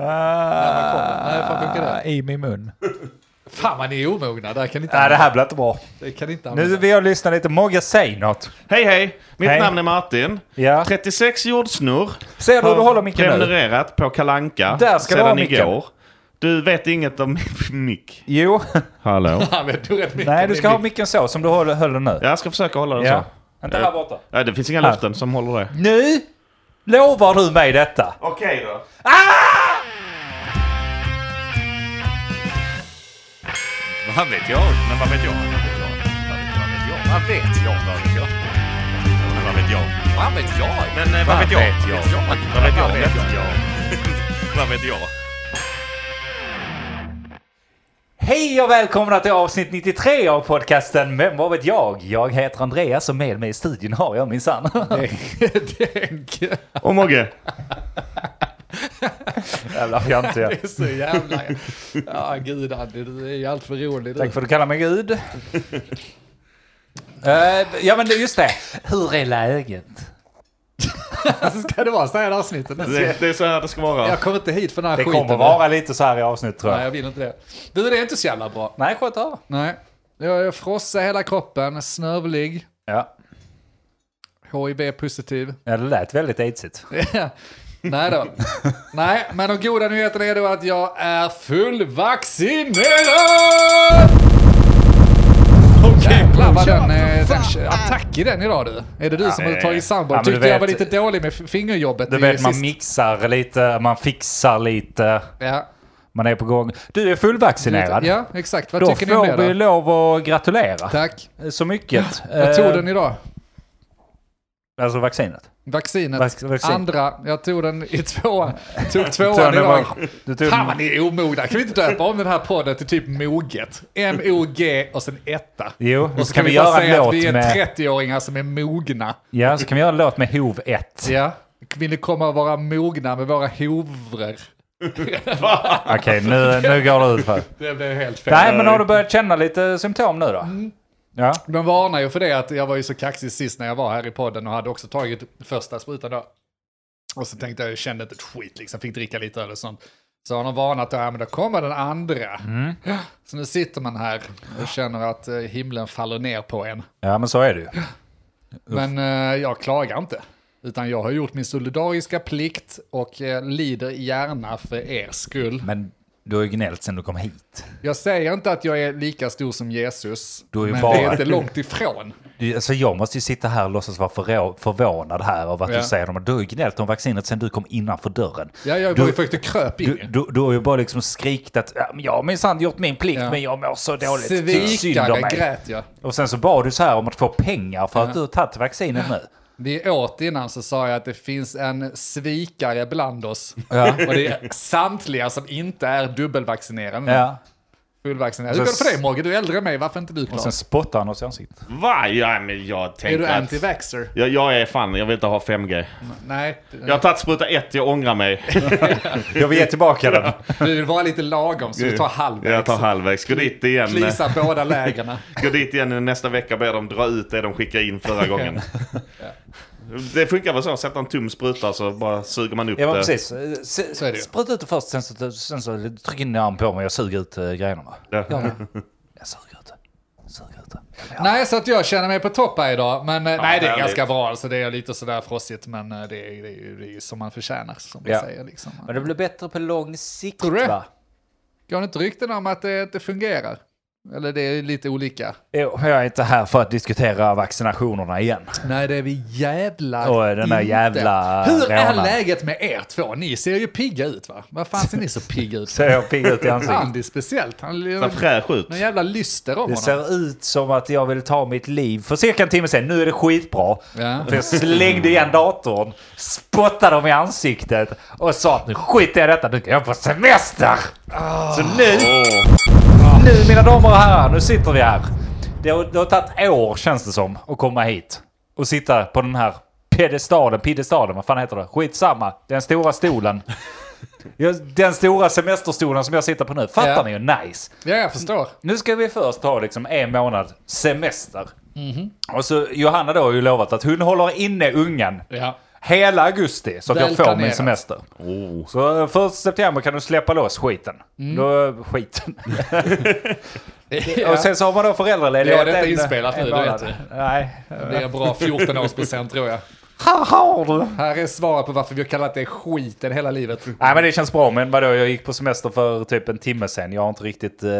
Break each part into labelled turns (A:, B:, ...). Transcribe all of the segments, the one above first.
A: när man kommer. Nej, fan funkar det?
B: Ah, I min mun.
A: Fan vad ni är omogna, det här kan ni inte
B: Nej, det
A: använda.
B: här blir inte bra.
A: Det kan ni inte
B: Nu
A: använda.
B: vill jag lyssna lite. Mogge, säg något.
C: Hej hej! Mitt
B: Hej.
C: namn är Martin.
B: Ja.
C: 36 jordsnurr.
B: Ser du hur du håller micken nu?
C: Prenumererat på Kalanka
B: Där ska du ha
C: sedan
B: micken.
C: igår. Du vet inget om min mick.
B: Jo.
C: Hallå?
A: Använder du rätt mycket?
B: Nej, du ska ha micken så som du höll höll den nu.
C: Jag ska försöka hålla den
B: Ja.
C: så.
B: Inte här borta.
C: Nej, det finns inga löften som håller det.
B: Nu lovar du mig detta.
C: Okej då.
D: Vad vet jag? Men vad vet jag? Vad vet jag? Vad vet jag? Vad vet jag? Men vad vet jag? Vad vet jag? Men eh, vad vet jag? Vad vet jag? Vad vet jag? Vad vet jag?
B: Hej och välkomna till avsnitt 93 av podcasten Men vad vet jag? Jag heter Andreas och med mig i studion har jag minsann.
A: det är en gö-
C: Och Mogge.
B: Jävla fjantiga.
A: Det är så jävla... Ja, gud Andy, du är ju allt för rolig. Du.
B: Tack för att du kallar mig Gud. Eh, ja men det- just det. Hur är läget?
A: Ska det vara så här i avsnittet?
C: Det, det är så här det ska vara.
A: Jag kommer inte hit för den här
B: Det
A: skiten.
B: kommer vara lite så här i avsnitt tror
A: Nej,
B: jag.
A: jag vill inte det. Du, det är inte så jävla bra.
B: Nej, sköt av.
A: Nej. Jag är frossa i hela kroppen, snövlig,
B: Ja,
A: HIV-positiv.
B: Ja, det lät väldigt aidsigt.
A: Nej då. Nej, men de goda nyheterna är då att jag är fullvaccinerad! Jävlar vad den, eh, den attack i den idag du. Är det du som har tagit samband?
B: Ja, men du
A: Tyckte jag var
B: vet-
A: lite dålig med f- fingerjobbet
B: Du
A: i
B: vet, man
A: sist.
B: mixar lite, man fixar lite,
A: Ja,
B: man är på gång. Du är fullvaccinerad.
A: ja, exakt. Vad
B: Då
A: tycker ni om
B: får vi
A: det då?
B: lov att gratulera.
A: Tack.
B: Så mycket.
A: Jag tog
B: Eh,
A: den idag.
B: Alltså vaccinet.
A: Vaccinet.
B: Vax- vaccin.
A: Andra. Jag tog den i tvåan. Tog tvåan
B: Tony
A: idag.
B: Blair. Du tog
A: Fan vad ni är omogna. Kan vi inte döpa om den här podden till typ moget? M-O-G och sen etta.
B: Jo,
A: och
B: så kan vi göra
A: bara
B: en
A: säga att
B: låt
A: vi är
B: med...
A: 30-åringar som är mogna.
B: Ja, så kan vi göra en låt med Hov 1.
A: Ja. Vill ni komma och vara mogna med våra hovrer?
B: Okej, nu, nu går det ut för.
A: Det blev helt fel.
B: Nej, men har du börjat känna lite symptom nu då?
A: Mm.
B: Ja.
A: De varnar ju för det att jag var ju så kaxig sist när jag var här i podden och hade också tagit första sprutan då. Och så tänkte jag, jag kände inte ett skit liksom, fick dricka lite öl och sånt. Så har de varnat då, ja men då kommer den andra.
B: Mm.
A: Så nu sitter man här och känner att eh, himlen faller ner på en.
B: ja, men så är det ju.
A: Men eh, jag klagar inte. Utan jag har gjort min solidariska plikt och eh, lider gärna för er skull.
B: Men du har ju gnällt sen du kom hit.
A: Jag säger inte att jag är lika stor som Jesus,
B: Du är ju
A: men
B: bara-
A: det är inte långt ifrån.
B: Du, alltså, jag måste ju sitta här och låtsas vara förå- förvånad här över att
A: Ja.
B: du säger det. Men Du har ju gnällt om vaccinet sen du kom innanför dörren.
A: Ja, jag
B: Du-
A: var ju faktiskt kröp in.
B: Du, du, du har ju bara liksom skrikt att ja, men jag har minsann gjort min plikt
A: Ja.
B: men jag mår så dåligt. Tyck typ synd om
A: Svikare
B: mig.
A: grät jag.
B: Och sen så bad du så här om att få pengar för att du har tagit vaccinet nu.
A: Vi åt innan så sa jag att det finns en svikare bland oss.
B: Ja.
A: Och det är samtliga som inte är dubbelvaccinerade.
B: Ja. Alltså
A: Fullvaccinerade. Hur går
B: Sen
A: det för dig Mogge? Du är äldre än mig, varför är inte du klar?
B: Sen spottar han oss i ansiktet.
C: Va? Ja, men jag
A: Är du
C: tänker att...
A: anti-vaxxer?
C: Jag, jag är fan, jag vill inte ha 5G.
A: Nej,
C: Jag har tagit spruta 1, jag ångrar mig.
B: Jag vill ge tillbaka den.
A: du vill vara lite lagom så du tar halvvägs.
C: Jag tar halvvägs. Gå dit igen.
A: Plisa båda lägren.
C: Gå dit igen nästa vecka och ber dem dra ut det de skickade in förra gången. Det funkar väl så, sätta en tom spruta så bara suger man upp
B: Ja men
C: det.
B: precis. S-
A: Så är det ju.
B: Spruta ut det först sen så, sen så tryck in din arm på mig och sug ut eh, grejerna. va?
C: Ja.
B: Jag suger ut det. Suger ut det. Ja.
A: Nej, så att jag känner mig på topp här idag. Men eh, nej, det är
C: härligt.
A: ganska bra. Alltså, det är lite sådär frossigt, men eh, det är, det är, ju- det är ju som man förtjänar, som man
B: Ja.
A: säger. Liksom.
B: Men det blir bättre på lång sikt
A: Tror du det?
B: va?
A: Går det inte rykten om att det inte fungerar? Eller det är lite olika?
B: Jo, jag är inte här för att diskutera vaccinationerna igen.
A: Nej, det är vi jävla
B: Och den där jävla
A: Hur är
B: rånaren.
A: läget med er två? Ni ser ju pigga ut va? Vad fan ser ni så pigga ut?
B: Ser jag pigg ut i ansiktet?
A: Andy speciellt. Han
C: Ser fräsch ut.
A: någon jävla lyster om
B: Det
A: honom.
B: ser ut som att jag vill ta mitt liv för cirka en timme sedan. Nu är det skitbra.
A: Ja.
B: För jag slängde igen datorn, spottade dem i ansiktet och sa att nu skiter jag i detta, nu kan jag på semester! Så nu,
C: Åh,
B: nu mina damer och herrar, nu sitter vi här. Det har, det har tagit år känns det som att komma hit och sitta på den här pedestalen, piedestalen, vad fan heter det? Skitsamma, den stora stolen. Jag- Den stora semesterstolen som jag sitter på nu, fattar
A: Ja.
B: ni hur nice?
A: Ja, jag förstår.
B: Nu ska vi först ha liksom en månad
A: Mhm.
B: semester. Och så Johanna då har ju lovat att hon håller inne ungen
A: Ja.
B: hela augusti så att
A: Väl
B: jag får min
A: planerat.
B: semester. Så eh, första september kan du släppa loss skiten.
A: Mm.
B: Då, eh, skiten.
A: Ja.
B: Och sen så har man då föräldraledighet.
A: Ja, detta är
B: en-
A: inspelat
B: en
A: nu, du vet
B: månad. Nej.
A: Det blir en bra 14-årspresent tror jag.
B: Här har du!
A: Här är svaret på varför vi har kallat det skiten hela livet.
B: Nej men det känns bra, men vadå jag gick på semester för typ en timme sen. Jag har inte riktigt eh,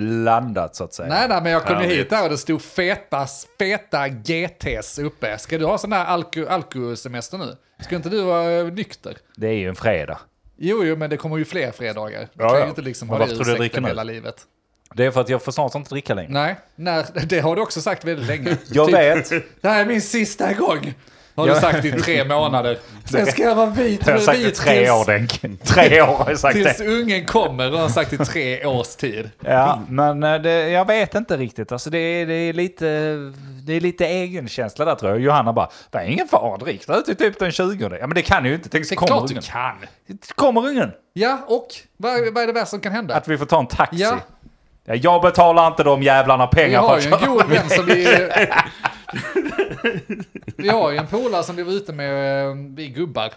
B: landat så att säga.
A: Nej, nej, men jag kom ju
C: Härligt.
A: hit där och det stod feta, feta GTs uppe. Ska du ha sån där alko- alkosemester nu? Ska inte du vara eh, nykter?
B: Det är ju en fredag.
A: Jo, jo, men det kommer ju fler fredagar. Du
B: Ja,
A: kan
B: ja.
A: ju inte liksom
B: Men
A: ha det
B: varför tror du jag dricker
A: ursäkten
B: nu?
A: hela livet.
B: Det är för att jag får snart inte dricka längre.
A: Nej, när, det har du också sagt väldigt länge.
B: Jag
A: Typ,
B: vet.
A: Det här är min sista gång. Har du
B: Jag-
A: sagt i tre månader. Sen ska jag vara vit,
B: Jag har sagt det
A: vit
B: tre år Denk. Tre år har jag sagt
A: tills, tills
B: det.
A: ungen kommer och har sagt i tre års tid.
B: Ja, men eh, det, jag vet inte riktigt. Alltså det, är- det, är lite, det är lite egenkänsla där tror jag. Johanna bara, det är ingen fara, drick det till typ den 20. Ja men det kan ju inte. Tänk så
A: Det är
B: kommer
A: klart du
B: ungen.
A: kan.
B: Kommer ungen?
A: Ja, och vad, vad är det värsta som kan hända?
B: Att vi får ta en taxi. Ja.
A: Ja.
B: Jag betalar inte de jävlarna
A: Vi
B: pengar
A: har
B: för
A: ju
B: att
A: en god vän som vi... Vi har ju en polare som vi var ute med, eh, vi gubbar.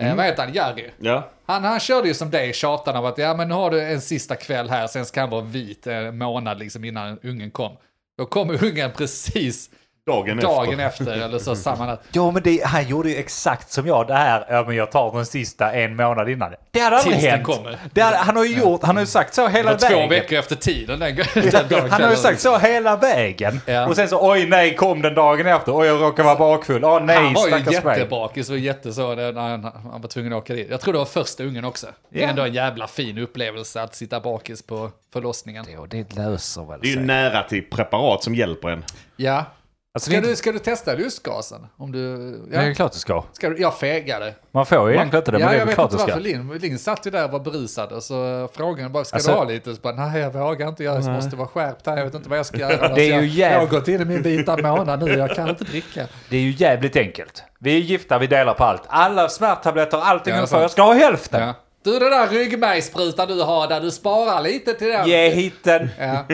B: Mm.
A: Eh, vad heter han? Jerry.
C: Ja.
A: Han, han körde ju som dig, tjatade om att ja, men nu har du en sista kväll här, sen ska han vara vit en månad liksom innan ungen kom. Då kom ungen precis
C: Dagen,
A: dagen
C: efter.
A: efter, eller så samma natt.
B: Jo, men det, han gjorde ju exakt som jag. Det här, ja men jag tar den sista en månad innan. Det hade aldrig
A: Tills den
B: hänt.
A: kommer.
B: Det hade, han har ju gjort, han har ju sagt så hela
A: Och två
B: vägen.
A: veckor efter tiden den, den dagen.
B: Han har ju sagt så hela vägen.
A: Ja.
B: Och sen så, oj nej, kom den dagen efter. Oj, jag råkar vara bakfull. Åh nej,
A: Han var ju
B: stackars mig.
A: jättebakis och jätte så när han, han var tvungen att åka dit. Jag tror det var första ungen också. Det
B: Ja.
A: är ändå en jävla fin upplevelse att sitta bakis på förlossningen.
B: Jo, det löser väl
C: Det är ju
B: sig.
C: nära till preparat som hjälper en.
A: Ja.
B: Alltså, det, är
A: Ska
B: inte,
A: du, ska du testa lustgasen? Om du...
B: det är
A: Ja.
B: klart du ska.
A: Ska du, jag fegade.
B: Man får ju egentligen inte det, men
A: ja,
B: det är
A: jag
B: väl
A: vet
B: klart
A: inte
B: du ska.
A: varför. Linn Lin satt ju där och var berusad och så frågade bara, ska
B: Alltså-
A: du ha lite? Så bara, nej jag vågar inte, jag måste vara skärpt här, jag vet inte vad jag ska göra. Alltså,
B: ju
A: jag, jag har
B: jävligt-
A: gått in i min vita månad nu, jag kan inte dricka.
B: Det är ju jävligt enkelt. Vi är gifta, vi delar på allt. Alla smärttabletter, allting
A: Ja,
B: ja,
A: det är sant.
B: jag ska ha hälften.
A: Ja. Du, den där ryggmärgssprutan du har där, du sparar lite till den.
B: Ge hit den,
A: Ja.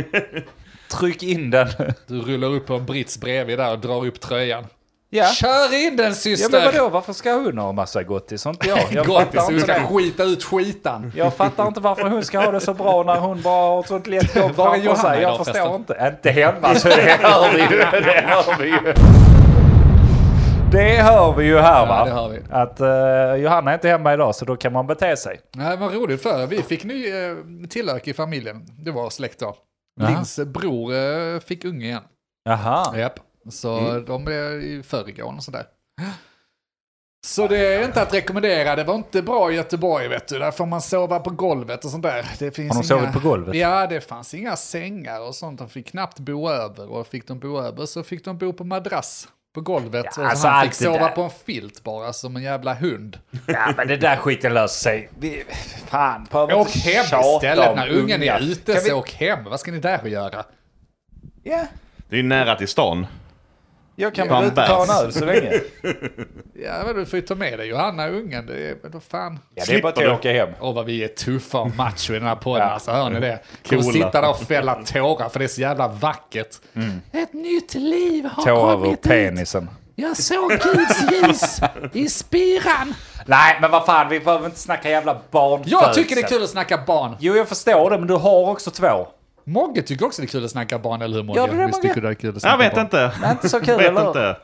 B: tryck in den.
A: Du rullar upp på en brits bredvid där och drar upp tröjan.
B: Ja.
A: Kör in den
B: Ja
A: syster!
B: men vadå, varför ska hon ha massa gottis och inte jag? Jag
A: Gottis,
B: fattar,
A: du
B: inte
A: ska
B: det.
A: skita ut skitan.
B: jag fattar inte varför hon ska ha det så bra när hon bara har ett sånt lätt jobb
A: Var är
B: framför
A: Johanna
B: sig. Jag
A: idag
B: förstår
A: förresten?
B: inte. Inte hemma, så det hör vi ju. Det hör vi ju. Det hör vi ju här va?
A: det hör vi.
B: Att eh, Johanna är inte hemma idag så då kan man bete sig.
A: Nej, vad roligt för Vi fick ny eh, tillök i familjen. Det var släkt då.
B: Jaha.
A: Lins bror eh, fick unge igen.
B: Jaha.
A: Japp. Så de blev i förrgår och sådär. Så det är inte att rekommendera. Det var inte bra i Göteborg vet du. Där får man sova på golvet och sånt där. Det finns
B: Har de sovit på golvet?
A: Ja, det fanns inga sängar och sånt. De fick knappt bo över. Och fick de bo över så fick de bo på madrass på golvet.
B: Ja,
A: och
B: alltså,
A: han fick
B: allt det
A: sova
B: där.
A: på en filt bara som en jävla hund.
B: Ja men det där skiten löser sig. Vi, fan, behöver
A: Åk
B: inte
A: hem
B: tjata
A: istället
B: om
A: när ungen
B: ungar.
A: är ute.
B: Kan vi-
A: Så åk hem. Vad ska ni där och göra?
B: Ja,
C: Det är ju nära till stan.
B: jag kan
C: Fan,
B: väl inte ta
C: bärs.
B: en öl så länge.
A: Ja, men du får ju ta med dig Johanna och ungen. Det är, vad fan.
B: Ja, det är bara att jag åker hem.
A: Åh vad vi är tuffa och macho i den här podden,
B: Ja.
A: alltså, hör ni det? Kommer
C: Coola.
A: sitta där och fälla tårar för det är så jävla vackert.
C: Mm.
A: Ett nytt liv har
B: Tår ur
A: kommit hit.
B: penisen.
A: Jag såg Guds ljus i spiran.
B: Nej, men vad fan, vi behöver inte snacka jävla barnfödsel.
A: Jag tycker det är kul att snacka barn.
B: Jo, jag förstår det, men du har också två.
A: Mogge tycker också det är kul att snacka barn, eller hur Mogge?
B: Gör du det,
A: Visst
B: Mogge?
A: tycker du det är kul att snacka
C: Jag vet
A: barn?
C: inte.
B: Det är inte så kul,
C: vet
B: eller?
C: inte.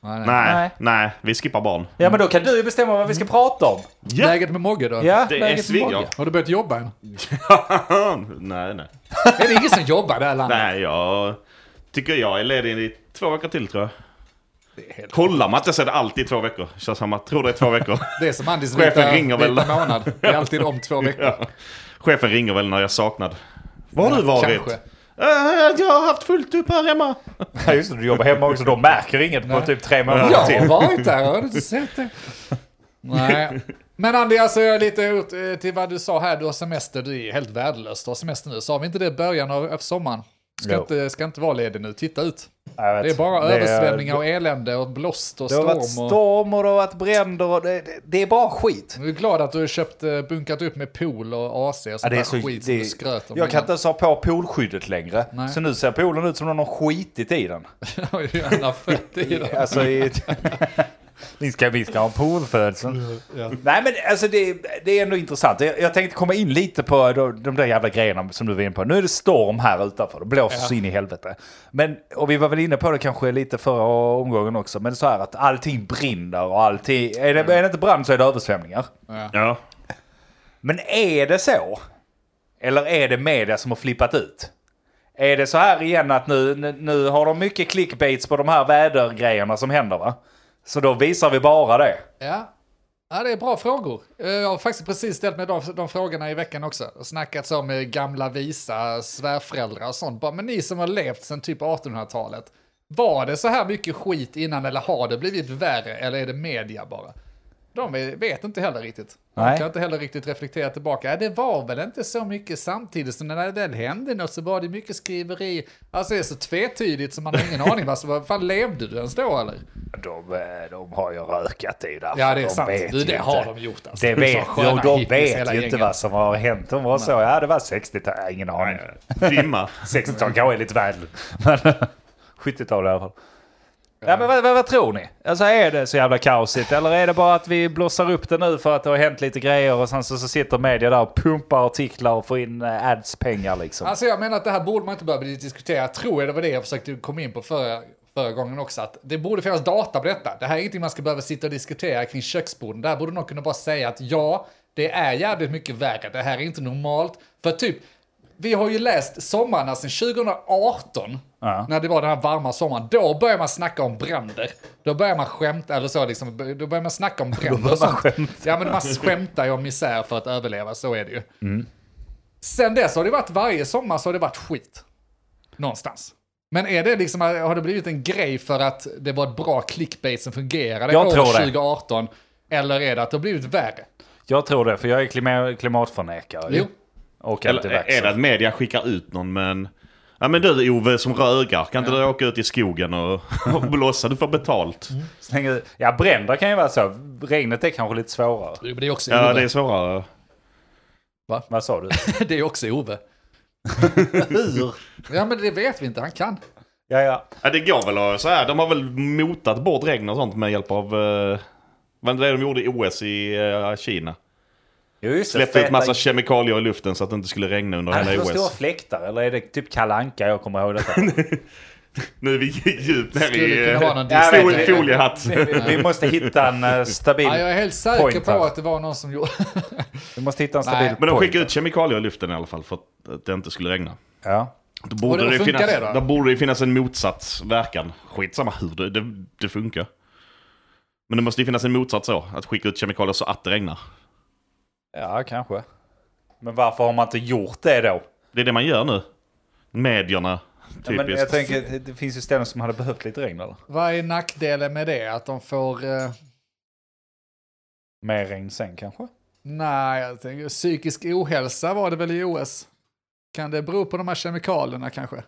A: Nej, nej.
C: Nej,
B: Nej.
C: nej, vi skippar barn.
B: Ja, men då kan du ju bestämma vad vi ska prata om.
C: Ja.
A: Läget med Mogge då?
B: Ja,
C: Det
B: läget
C: är
B: för
C: svingar.
B: Mogge.
A: Har du börjat jobba än?
C: nej, nej.
A: Är det ingen som jobbar i det här landet?
C: Nej, jag tycker jag är ledig i två veckor till tror jag. Kollar man inte så är det alltid två veckor. Kör samma, tror det är två veckor.
A: Det är som Andis
C: Chefen
A: vita,
C: ringer väl.
A: vita månad. Det är alltid om två veckor.
C: Ja. Chefen ringer väl när jag är saknad. Var har du varit?
A: kanske.
C: "Eh, jag har haft fullt upp här hemma.
B: Ja, just det, du jobbar hemma också. De märker inget på typ tre månader
A: Jag
B: till.
A: har varit där, har du inte sett det? Nej. Men Andy, alltså jag är lite ut eh, till vad du sa här, du har semester, du är helt värdelös, du har semester nu. Sa vi inte det i början av av sommaren? Ska
B: Jo.
A: inte, ska inte vara ledig nu, titta ut.
B: Jag vet.
A: Det är bara
B: Det är-
A: översvämningar och elände och blåst och
B: Det har
A: storm.
B: varit
A: Och...
B: storm och Mm. det har varit bränder och det, det, det är bara skit.
A: Jag är glad att du har köpt, eh, bunkat upp med pool och AC och sånt där skit som du skröt om.
B: jag kan inte
A: innan.
B: ens ha på poolskyddet längre.
A: Nej.
B: Så nu ser poolen ut som någon har skitit i den.
A: Jag har ju gärna fötter i det.
B: Alltså, i, Ni ska, vi ska ha en poolfödsel.
A: Ja.
B: Nej men alltså det, det är ändå intressant. Jag, jag tänkte komma in lite på de, de där jävla grejerna som du var inne på. Nu är det storm här utanför. Det blåser så in i helvete. Men, och vi var väl inne på det kanske lite förra omgången också. Men så här att allting brinner och allting. Är det,
A: Mm.
B: är det inte brand så är det översvämningar.
C: Ja.
B: Men är det så? Eller är det media som har flippat ut? Är det så här igen att nu, nu- nu har de mycket clickbaits på de här vädergrejerna som händer va? Så då visar vi bara det.
A: Ja. ja, det är bra frågor. Eh, Jag har faktiskt precis ställt mig de, de frågorna i veckan också. Och snackat så med gamla visa svärföräldrar och sånt. Bara, men ni som har levt sedan typ 1800-talet. Var det så här mycket skit innan eller har det blivit värre eller är det media bara? De är- vet inte heller riktigt. De
B: Nej.
A: kan inte heller riktigt reflektera tillbaka. Ja, Det var väl inte så mycket samtidigt som när det väl hände något så var det mycket skriveri. Alltså det är så tvetydigt som man har ingen aning. Alltså, vad fan levde du ens då eller?
B: De, eh, de har ju rökat det ju därför.
A: Ja, det är
B: de
A: sant.
B: vet
A: Du,
B: ju
A: det
B: inte.
A: har de gjort. Alltså.
B: Det
A: är så
B: vet,
A: sköna
B: de, de
A: hippies, hela
B: vet ju inte
A: gänget.
B: vad som har hänt. De var så, ja det var 60-tal, Jag har ingen aning.
C: Eh, Dimma.
B: 60-tal kanske är lite väl. Men 70-tal i alla fall. Ja, men vad, vad, vad tror ni? Alltså är det så jävla kaosigt? Eller är det bara att vi blossar upp det nu för att det har hänt lite grejer och sen så, så sitter media där och pumpar artiklar och får in eh, ads-pengar liksom?
A: Alltså jag menar att det här borde man inte börja diskutera. Jag tror det var det jag försökte komma in på förra, förra gången också. Att det borde finnas data på detta. Det här är ingenting man ska behöva sitta och diskutera kring köksborden. Där borde någon kunna bara säga att ja, det är jävligt mycket värre. Det här är inte normalt. För typ, vi har ju läst sommarna sedan 2018. När det var den här varma sommaren. Då börjar man snacka om bränder. Då börjar man skämta eller så liksom. Då börjar man snacka om bränder. och sånt. Ja men man skämtar ju om misär för att överleva. Så är det ju. Sen dess har det varit varje sommar så har det varit skit. Någonstans. Men är det liksom, har det blivit en grej för att det var ett bra clickbait som fungerade
B: Jag
A: år
B: tror det.
A: 2018? Eller är det att det har blivit värre?
B: Jag tror det, för jag är klima- klimatförnekare.
A: Jo.
B: Och
C: Eller är det
B: antivaxxare.
C: att media skickar ut någon men... Ja men du Ove som rögar, kan inte du åka ut i skogen och, och blåsa? Du får betalt.
B: Mm. Slänger ut- Ja, bränder kan ju vara så. Regnet är kanske lite svårare.
A: Jo, men Det är också
C: Ja
A: Ove.
C: det är svårare.
B: Vad sa du?
A: Det är också Ove.
B: Hur?
A: Ja, men det vet vi inte. Han kan.
B: Ja, ja.
C: Ja det går väl att så här. De har väl motat bort regn och sånt med hjälp av... Uh, vad det är de gjorde i OS i eh, Kina?
B: Jo, just det.
C: Släppte ut
B: Feta-
C: massa kemikalier i luften så att det inte skulle regna under
B: Hade
C: hela
B: de stora
C: OS.
B: fläktar eller är det typ kalanka jag kommer ihåg detta?
C: Nu är vi djupt nere
A: Skulle
C: i...
A: kunna vara någon
C: eh,
B: jag vet
C: fol-
B: inte.
C: Foliehatt.
B: vi, vi måste hitta en eh, stabil
A: Ja, jag är helt säker
B: point
A: på
B: här.
A: att det var någon som gjorde...
B: Vi måste hitta en stabil
A: Nej.
C: Men de
B: point.
C: skickar ut kemikalier i luften i alla fall för att det inte skulle regna.
B: Ja.
C: Då borde
A: Och då
C: det,
A: funkar
C: finnas,
A: det då?
C: då? borde det finnas en motsatt verkan. Skitsamma hur det, det, det funkar. Men det måste ju finnas en motsats så. Att skicka ut kemikalier så att det regnar.
B: ja, kanske. Men varför har man inte gjort det då?
C: Det är det man gör nu. Medierna,
B: Ja, men
C: typiskt.
B: jag tänker, det finns ju ställen som hade behövt lite regn eller?
A: Vad är nackdelen med det? Att de får... Eh...
B: Mer regn sen kanske?
A: Nej, jag tänker, psykisk ohälsa var det väl i OS? Kan det bero på de här kemikalierna kanske?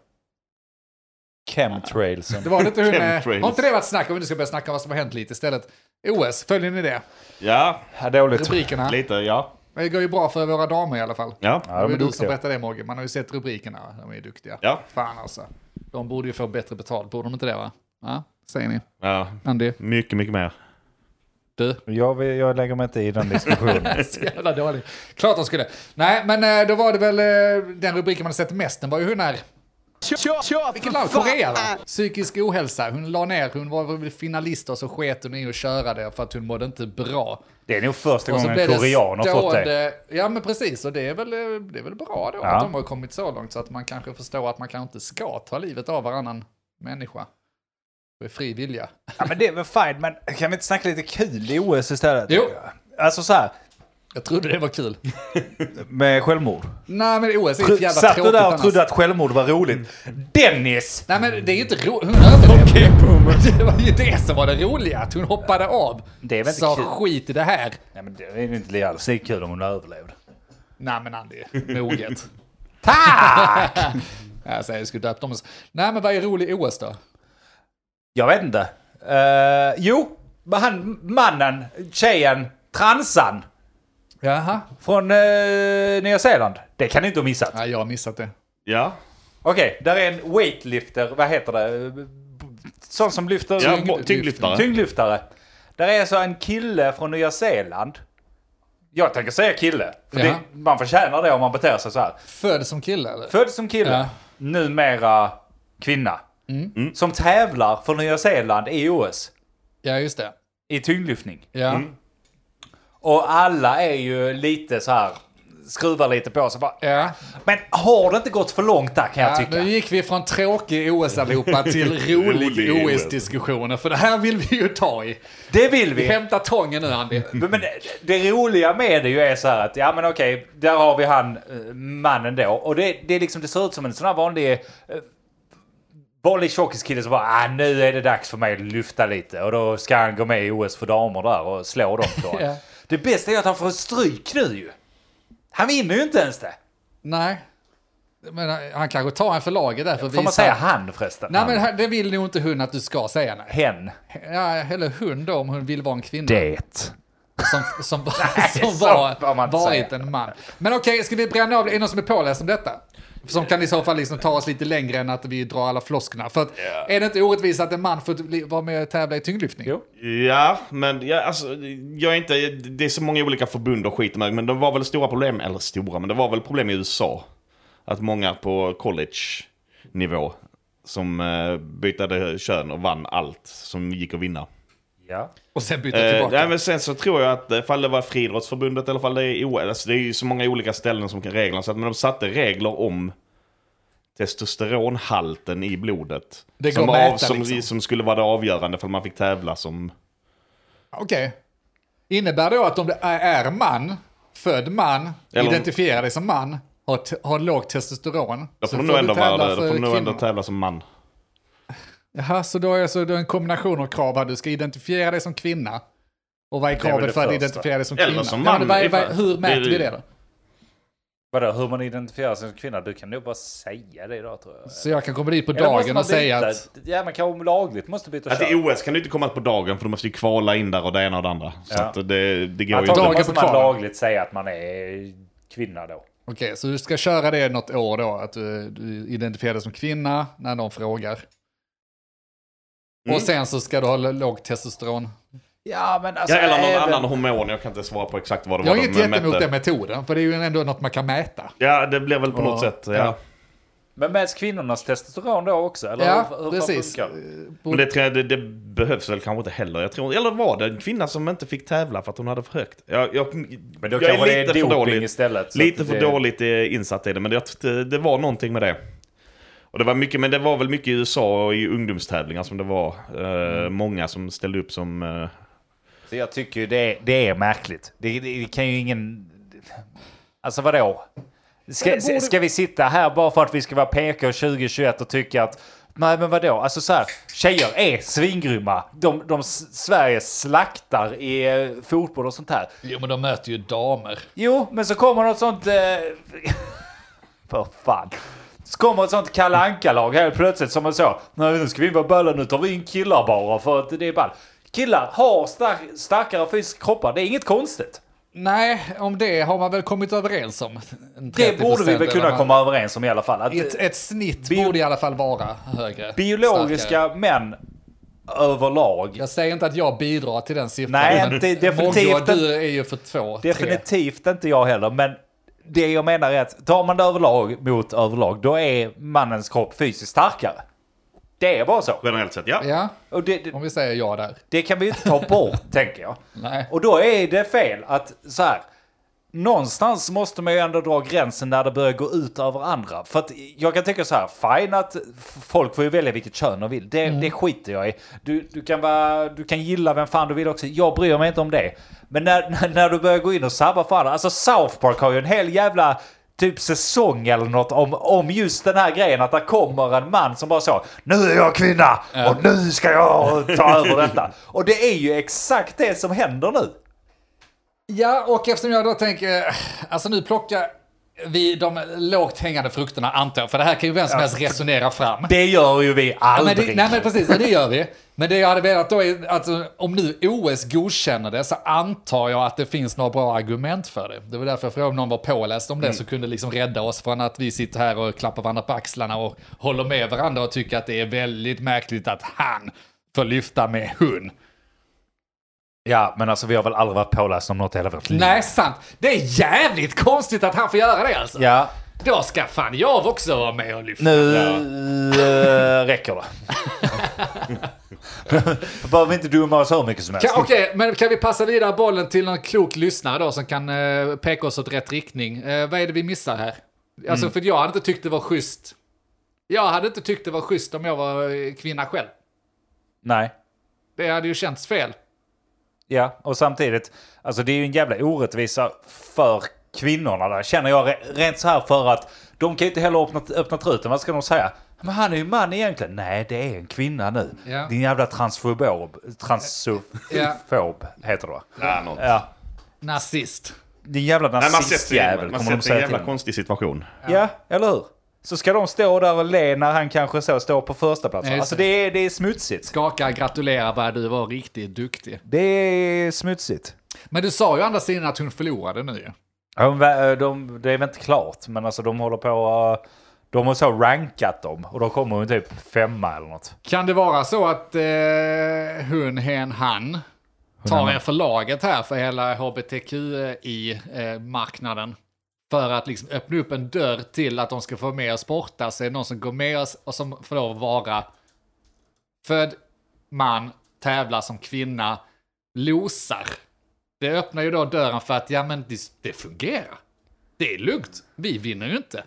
B: Chemtrailsen.
A: Det var lite hur med...
C: Chemtrails.
A: Har inte det varit snack om vi nu ska börja snacka om vad som har hänt lite istället? OS, följer ni det?
C: Ja,
B: Ja, dåligt.
A: Rubrikerna.
C: lite ja.
A: Det går ju bra för våra damer i alla fall.
C: Ja,
B: Ja,
A: det
B: de
A: var
B: är
A: ju du som
B: duktiga.
A: berättade det Mogge, man har ju sett rubrikerna. De är ju duktiga.
C: Ja.
A: Fan alltså. De borde ju få bättre betalt, borde de inte det va? Ja, säger ni.
C: ja.
A: Andy,
C: Mycket, mycket mer.
A: du.
B: Jag, vill, jag lägger mig inte i den diskussionen.
A: Så jävla dålig. Klart de skulle. Nej, men eh, då var det väl eh, den rubriken man har sett mest. Den var ju hon här. Vilket land? Korea va? Psykisk ohälsa. Hon la ner, hon var väl finalist och så sket hon i att köra det för att hon mådde inte bra.
B: Det är nog första
A: Och så
B: gången
A: blev det
B: en korean har fått det.
A: stående- Ja men precis, och det är väl, eh, det är väl bra då
B: Ja.
A: att de har kommit så långt så att man kanske förstår att man kanske inte ska ta livet av varannan människa. Med fri vilja.
B: Ja, men det är väl fint, men kan vi inte snacka lite kul i OS istället?
A: Jo.
B: Alltså så här,
A: Jag trodde det var kul.
B: med självmord.
A: Nej men OS är ett jävla
B: Satt du
A: tråkigt
B: där och
A: annars. Mm.
B: trodde att självmord var roligt? Dennis!
A: Nej men det är ju inte roligt, hon överlevde ju. Det var ju det som var det roliga, att hon hoppade av.
B: Det är väl inte
A: Sa
B: kul.
A: skit i det här.
B: Nej men det är ju inte alls lika kul om hon överlevde.
A: Nej men Andy, moget.
B: Tack!
A: Jag säger, jag skulle döpt dem. Nej men vad är rolig OS då?
B: Jag vet inte. Eh, jo, men han, mannen, tjejen, transan
A: Jaha?
B: från eh, Nya Zeeland. Det kan ni inte ha missat.
A: Nej jag har missat det.
C: Ja,
B: Okej, där är en weightlifter, vad heter det? B- Sån som lyfter...
C: ja
A: Tyngd-
C: mo- tyngdlyftare.
B: Tyngdlyftare. Där är så en kille från Nya Zeeland. Jag tänker säga kille. För
A: Ja.
B: det, man förtjänar det om man beter sig så här.
A: Född som kille eller?
B: Född som kille,
A: Ja. Mm.
B: numera kvinna. Som tävlar för Nya Zeeland i OS.
A: Ja, just det.
B: I tyngdlyftning.
A: Ja.
B: Och alla är ju lite så här, skruvar lite på sig bara.
A: Ja.
B: Men har det inte gått för långt där kan jag
A: Ja,
B: tycka?
A: nu gick vi från tråkig OS-allihopa till rolig
C: Rolig OS.
A: OS-diskussioner, för det här vill vi ju ta i.
B: Det vill vi!
A: Hämta tången nu, Andy.
B: Men men det, det roliga med det ju är så här att, ja men okej, där har vi han eh, mannen då. Och det, det, är liksom, det ser ut som en sån här vanlig, eh, vanlig tjockiskille som bara, ah, nu är det dags för mig att lyfta lite. Och då ska han gå med i OS för damer där och slå dem då.
A: Ja.
B: Det bästa är att han får stryk nu ju. Han vinner ju inte ens det.
A: Nej. Men han- han kanske tar en för laget där för att
B: Får man
A: visa-
B: säga han förresten?
A: Nej,
B: Han.
A: men här- det vill nog inte hon att du ska säga nej.
B: Hen.
A: Ja, eller hon då, om hon vill vara en kvinna.
B: Det.
A: Som, som,
B: så
A: som var,
B: får man inte
A: varit
B: säga.
A: en man. Men okej, ska vi bränna av? Är det någon som är påläst om detta? Som kan i så fall liksom ta oss lite längre än att vi drar alla flosklerna. För att, är det inte orättvist att en man får bli- vara med och tävla i tyngdlyftning?
B: Jo.
C: Ja, men ja, alltså, jag är inte... Det är så många olika förbund och skit med, men det var väl stora problem, eller stora, men det var väl problem i USA. Att många på college-nivå som eh, bytte kön och vann allt som gick att vinna.
B: Ja.
A: Och sen byta
C: Eh,
A: tillbaka?
C: nej, men sen så tror jag att eh, ifall det var Friidrottsförbundet eller ifall det är OS, alltså, det är ju så många olika ställen som kan reglerna, så att men de satte regler om testosteronhalten i blodet.
A: Det
C: som,
A: går att mäta,
C: som,
A: liksom.
C: som skulle vara det avgörande ifall man fick tävla som...
A: Okej. Innebär det att om det är är man, född man,
C: Eller om-
A: identifierar dig som man, har, t- har lågt testosteron.
C: Då
A: så
C: får du nog ändå vara
A: tävla
C: det. Då får du nog ändå
A: kvinnor.
C: tävla som man.
A: Jaha, så då är så då är en kombination av krav här. Du ska identifiera dig som kvinna. Och vad är
B: väl
A: kravet
B: det
A: för att
B: första.
A: identifiera dig som
C: Eller
A: kvinna?
C: som
A: Ja,
C: man,
A: men vad är- vad är-
C: ifall-
A: hur mäter
C: det-
A: vi det då?
B: Vadå, hur man identifierar sig som kvinna? Du kan nog bara säga det idag tror jag.
A: Så jag kan komma dit på
B: Eller måste
A: dagen
B: man
A: och säga
B: byta?
A: att...
B: Ja, man kan lagligt måste byta
C: Att i
B: kön.
C: OS kan du inte komma på dagen för du måste ju kvala in där och det ena och det andra. Så
B: Ja.
C: att det, det går ju
B: Antagligen
A: dagen
C: inte.
B: måste
A: på
B: man
A: kvar.
B: lagligt säga att man är kvinna då.
A: Okej, så du ska köra det något år då? Att du, du identifierar dig som kvinna när någon frågar.
C: Mm.
A: Och sen så ska du ha låg testosteron.
B: Ja, men
C: Ja,
B: alltså...
C: eller någon annan hormon. Jag kan inte svara på exakt vad det
A: Jag är
C: var de
A: inte jättemot
C: mätte.
A: den metoden, för det är ju ändå något man kan mäta.
C: Ja, det blev väl på något sätt. Ja.
A: ja.
B: Men mäts kvinnornas testosteron då också? Eller
A: Ja,
B: hur, hur fan
A: precis.
B: funkar det?
A: På-
C: Men det, tror jag, det, det behövs väl kanske inte heller. Jag tror, eller var det en kvinna som inte fick tävla för att hon hade för högt? Jag, jag,
B: Men då
C: jag
B: kanske det är doping
C: dåligt-
B: istället. så
C: Lite
B: att
C: för
B: det-
C: dåligt eh, insatt i det, men det, det var någonting med det. Och det var mycket, men det var väl mycket i USA och i ungdomstävlingar som det var eh,
B: Mm.
C: många som ställde upp som... Eh,
B: Så jag tycker ju det, det är märkligt. Det, det, det kan ju ingen... Alltså vadå? Ska,
A: Men det borde-
B: ska vi sitta här bara för att vi ska vara PK 2021 och tycka att Nej men vadå, alltså så här, tjejer är svingrymma. De, de s- Sverige slaktar i eh, fotboll och sånt här.
A: Jo, men de möter ju damer.
B: Jo, men så kommer något sånt... Eh, för fan. Så kommer ett sånt Kalle Anka-lag helt plötsligt som är så. Nej, nu ska vi vara böla, nu tar vi in killar bara för att det är ball. Killar har stark, starkare fysiska kroppar, det är inget konstigt.
A: Nej, om det har man väl kommit överens om. En
B: Det borde vi
A: 30%
B: väl kunna
A: eller
B: komma överens om i alla fall. Att
A: Ett, ett snitt
B: Bio-
A: borde i alla fall vara högre.
B: biologiska
A: starkare.
B: män överlag,
A: Jag säger inte att jag bidrar till den siffran.
B: Nej,
A: men
B: inte- definitivt
A: Mogge och du
B: inte.
A: är ju för två, tre.
B: definitivt inte jag heller, men det jag menar är att tar man det överlag mot överlag, då är mannens kropp fysiskt starkare. Det är bara så.
C: generellt sett, ja.
A: Ja,
B: Och det, det,
A: om vi säger ja där.
B: Det kan vi ju inte ta bort, tänker jag.
A: Nej.
B: Och då är det fel att så här, någonstans måste man ju ändå dra gränsen när det börjar gå ut över andra. För att jag kan tycka så här, fine att f- folk får ju välja vilket kön de vill. Det,
A: Mm.
B: det skiter jag i. Du, du, kan vara, du kan gilla vem fan du vill också. Jag bryr mig inte om det. Men när, när, när du börjar gå in och sabba för andra. Alltså South Park har ju en hel jävla typ säsong eller något om, om just den här grejen att det kommer en man som bara så Nu är jag kvinna och nu ska jag ta över detta. Och det är ju exakt det som händer nu.
A: Ja, och eftersom jag då tänker, eh, alltså nu plockar vi de lågt hängande frukterna antar jag, för det här kan ju vem som helst resonera fram.
B: Det gör ju vi
A: Ja, men
B: aldrig.
A: det, nej men precis, ja, det gör vi. Men det jag hade velat då är att eh, om nu OS godkänner det så antar jag att det finns några bra argument för det. Det var därför jag frågade om någon var påläst om det så kunde liksom rädda oss från att vi sitter här och klappar varandra på axlarna och håller med varandra och tycker att det är väldigt märkligt att han får lyfta med hon.
B: Ja, men alltså vi har väl aldrig varit pålästa om något i hela vårt liv.
A: Nej, sant. Det är jävligt konstigt att han får göra det alltså.
B: Ja,
A: Då ska fan jag också vara med och lyfta.
B: nu eh, räcker det. Behöver vi inte dumma oss hur mycket som helst.
A: Kan, Okej, men kan vi passa vidare bollen till någon klok lyssnare då som kan eh, peka oss åt rätt riktning? Eh, vad är det vi missar här? Alltså, för jag hade inte tyckt det var schysst. Jag hade inte tyckt det var schysst om jag var eh, kvinna själv.
B: Nej.
A: Det hade ju känts fel.
B: Ja, och samtidigt, alltså det är ju en jävla orättvisa för kvinnorna där, känner jag re- rent så här för att de kan ju inte heller öppna, öppna truten, vad ska de säga? Men han är ju man egentligen. Nej, det är en kvinna nu.
A: Ja.
B: Din jävla transfobob, transfob heter det va?
C: Nej, något.
B: Ja.
A: Nazist.
B: Din jävla
C: Nej, man sätter
B: nazistjävel
C: sig
B: kommer
C: man
B: de
C: sätter en
B: säga
C: jävla
B: till
C: konstig situation.
B: Ja, eller hur? Så ska de stå där och le när han kanske så står på första plats.
A: Ja, just
B: Alltså
A: det.
B: det är, det är smutsigt.
A: Skaka, gratulera, vad du var riktigt duktig.
B: Det är smutsigt.
A: Men du sa ju å andra sidan att hon förlorade nu ju.
B: Ja, De, vä- de, det är väl inte klart, men alltså de håller på... eh, De har så rankat dem och då kommer hon typ femma eller något.
A: Kan det vara så att eh, hon, hen, han tar er för laget här för hela hbtqi-marknaden? eh, För att liksom öppna upp en dörr till att de ska få med och sporta sig, någon som går med oss och som får lov att vara född man, tävlar som kvinna, losar. Det öppnar ju då dörren för att ja men det, det fungerar. Det är lugnt, vi vinner ju inte.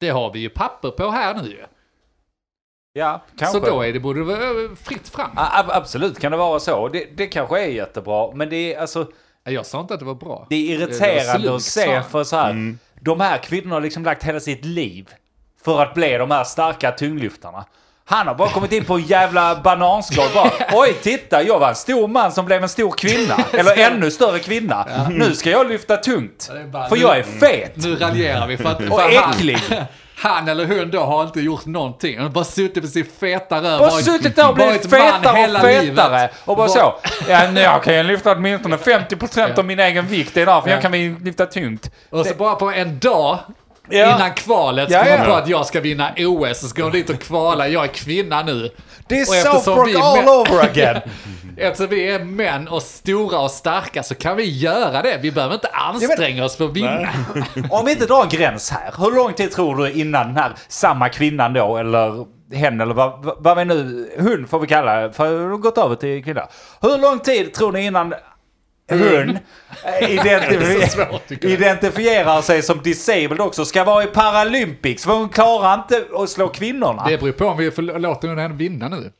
A: Det har vi ju papper på här nu ju.
B: Ja, kanske.
A: Så då är det, borde det vara fritt fram.
B: A- ab- absolut kan det vara så. Det, det kanske är jättebra, men det är alltså...
A: Nej, Jag sa inte att det var bra.
B: Det är
A: Det-
B: irriterande
A: det var
B: att
A: slugt,
B: se
A: sa
B: för så här. De här kvinnorna har liksom lagt hela sitt liv för att bli de här starka tyngdlyftarna. Han har bara kommit in på en jävla bananskal bara. Oj, titta, jag var en stor man som blev en stor kvinna. Eller ännu större kvinna. Nu ska jag lyfta tungt.
A: Mm. det är bara-
B: För jag är fet.
A: Nu raljerar vi för att...
B: Och
A: för
B: äcklig.
A: Han, han eller hon då har inte gjort någonting. Han har bara suttit på sin feta röv.
B: Bara
A: varit-
B: suttit där och blivit
A: varit man
B: fetare och
A: hela
B: fetare.
A: livet.
B: Och bara så.
A: Var-
B: Ja, nu kan jag lyfta åtminstone 50% av min egen vikt idag. För jag kan väl lyfta tungt.
A: Och så bara på en dag
B: Ja.
A: innan kvalet
B: Ja,
A: så kommer
B: ja.
A: man på att jag ska vinna OS. Så ska hon dit och kvala. Jag är kvinna nu.
B: Det är
A: Och eftersom
B: Southbrook
A: vi män-
B: all over again.
A: Eftersom vi är män och stora och starka så kan vi göra det. Vi behöver inte anstränga oss för att vinna.
B: Om vi inte drar en gräns här, hur lång tid tror du innan den här samma kvinnan då, eller hen, eller vad, vad- vad vi nu, hon får vi kalla för hon har gått över till kvinna. Hur lång tid tror ni innan hon
A: Mm. Det är
B: identifi-
A: så svårt, tycker jag.
B: identifierar sig som disabled också, ska vara i Paralympics, för hon klarar inte att slå kvinnorna.
A: Det beror på om vi förl- låter henne vinna nu.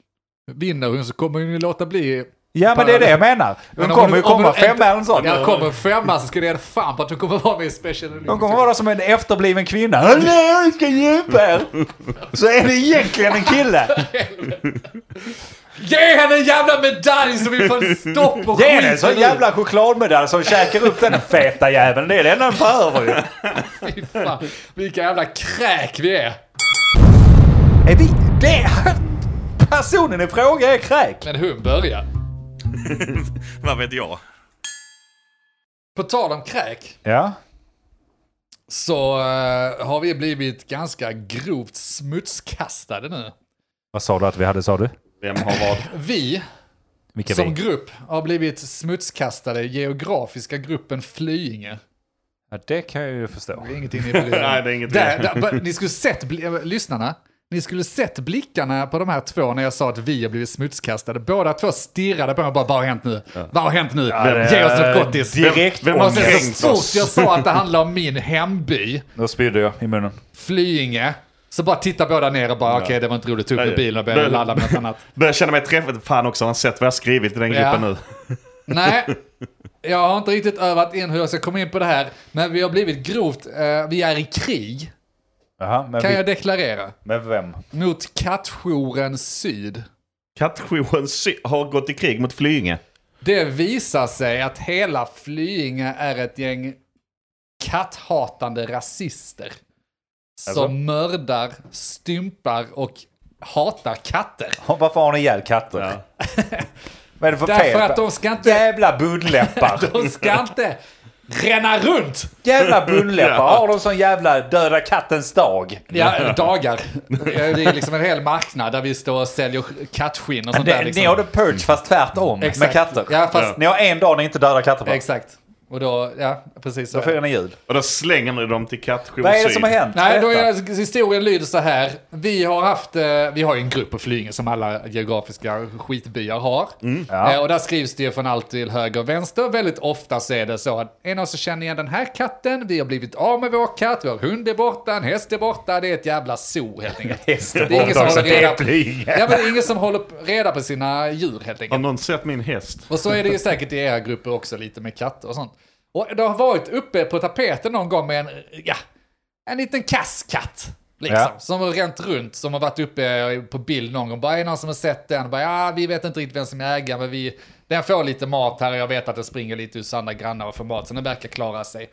A: Vinner hon så kommer hon ju låta bli...
B: ja, men det är det jag menar. Hon
A: Men om
B: kommer ju
A: om
B: komma
A: hon inte-
B: femma eller något sånt.
A: Ja, kommer femma så ska det göra fan på att hon kommer vara med i Special Olympics.
B: Hon kommer vara där som en efterbliven kvinna. Hallå, jag ska hjälpa er! Så är det egentligen en kille.
A: Ge henne en jävla medalj så vi får stopp på
B: Ge henne en sån
A: nu.
B: jävla chokladmedalj som käkar upp den feta jäveln. Det är det enda den behöver ju.
A: Fy fan, vilka jävla kräk vi är.
B: Är vi... Det... Personen i fråga är kräk.
A: Men hon börjar.
D: Vad vet jag?
A: På tal om kräk
B: Ja.
A: så eh, har vi blivit ganska grovt smutskastade nu.
B: Vad sa du att vi hade, sa du?
C: Vem har vad?
A: Vi
B: Vilka
A: som grupp har blivit smutskastade i geografiska gruppen Flyinge.
B: Ja, det kan jag ju förstå.
A: Det är ingenting ni bryr er om.
C: Nej, det är inget
A: där,
C: vi-
A: där, bara- Ni skulle sett, bli- eh, lyssnarna, ni skulle sett blickarna på de här två när jag sa att vi har blivit smutskastade. Båda två stirrade på mig och bara, vad har hänt nu? Vad har hänt nu?
B: det-
A: Ge oss något gottis.
B: Direkt
C: Vem- vem har
A: Och sen
C: kränkt
A: så fort
C: oss?
A: jag sa att det handlar om min hemby,
B: Då spydde jag i munnen.
A: Flyinge, så bara tittar båda ner och bara, okej det var inte roligt, tog upp
C: Nej,
A: bilen och började
C: det-
A: ladda med något annat.
C: Börjar känna mig träffad. Fan också, har han sett vad jag skrivit i den gruppen
A: Ja.
C: nu?
A: Nej, jag har inte riktigt övat in hur jag ska komma in på det här, men vi har blivit grovt, eh, vi är i krig,
B: Jaha, men,
A: kan
B: vi,
A: jag deklarera,
B: men vem?
A: mot kattjouren Syd.
C: Kattjouren sy- har gått i krig mot Flyinge.
A: Det visar sig att hela Flyinge är ett gäng katthatande rasister.
B: Alltså?
A: Som mördar, stympar och hatar katter.
B: Och Varför har ni ihjäl katter? Vad är det för
A: Därför
B: fel?
A: att de ska inte-
B: Jävla budläppar!
A: De ska inte ränna runt.
B: Jävla bullläppar.
C: Ja.
B: Har de sån jävla döda kattens dag?
A: Ja, dagar. Det är liksom en hel marknad där vi står och säljer kattskinn och sånt där.
B: Det,
A: Liksom.
B: Ni har The Purge fast tvärtom med
A: Exakt.
B: katter.
A: Ja, fast,
B: Ni har en dag ni inte dödar katter på.
A: Exakt. Och då, ja, precis så.
B: Då
A: är det.
B: firar ni jul.
C: Och då slänger ni dem till kattjour
B: Vad är det
C: syd.
B: som har hänt?
A: Nej, då
B: Berätta.
A: är, historien lyder så här. Vi har haft, eh, vi har ju en grupp på Flyinge som alla geografiska skitbyar har.
B: Ja.
A: Eh, och där skrivs det ju från allt till höger och vänster. Väldigt ofta så är det så att en av oss känner igen den här katten, vi har blivit av med vår katt, vår hund är borta, en häst är borta, det är ett jävla zoo helt enkelt.
B: Hästen
A: Det är ingen som
B: borta också.
A: håller reda
B: Det
A: på,
B: är flyg.
A: ja, men det är ingen som håller reda på sina djur helt enkelt.
C: Har någon sett min häst?
A: Och så är det ju säkert i era grupper också lite med katter och sånt. Och det har varit uppe på tapeten någon gång med en, ja, en liten kasskatt. Liksom,
B: Ja.
A: Som har ränt runt, som har varit uppe på bild någon gång. Bara är det någon som har sett den? Bara, ja, vi vet inte riktigt vem som är ägaren, men vi, den får lite mat här och jag vet att den springer lite hos andra grannar och får mat, så den verkar klara sig.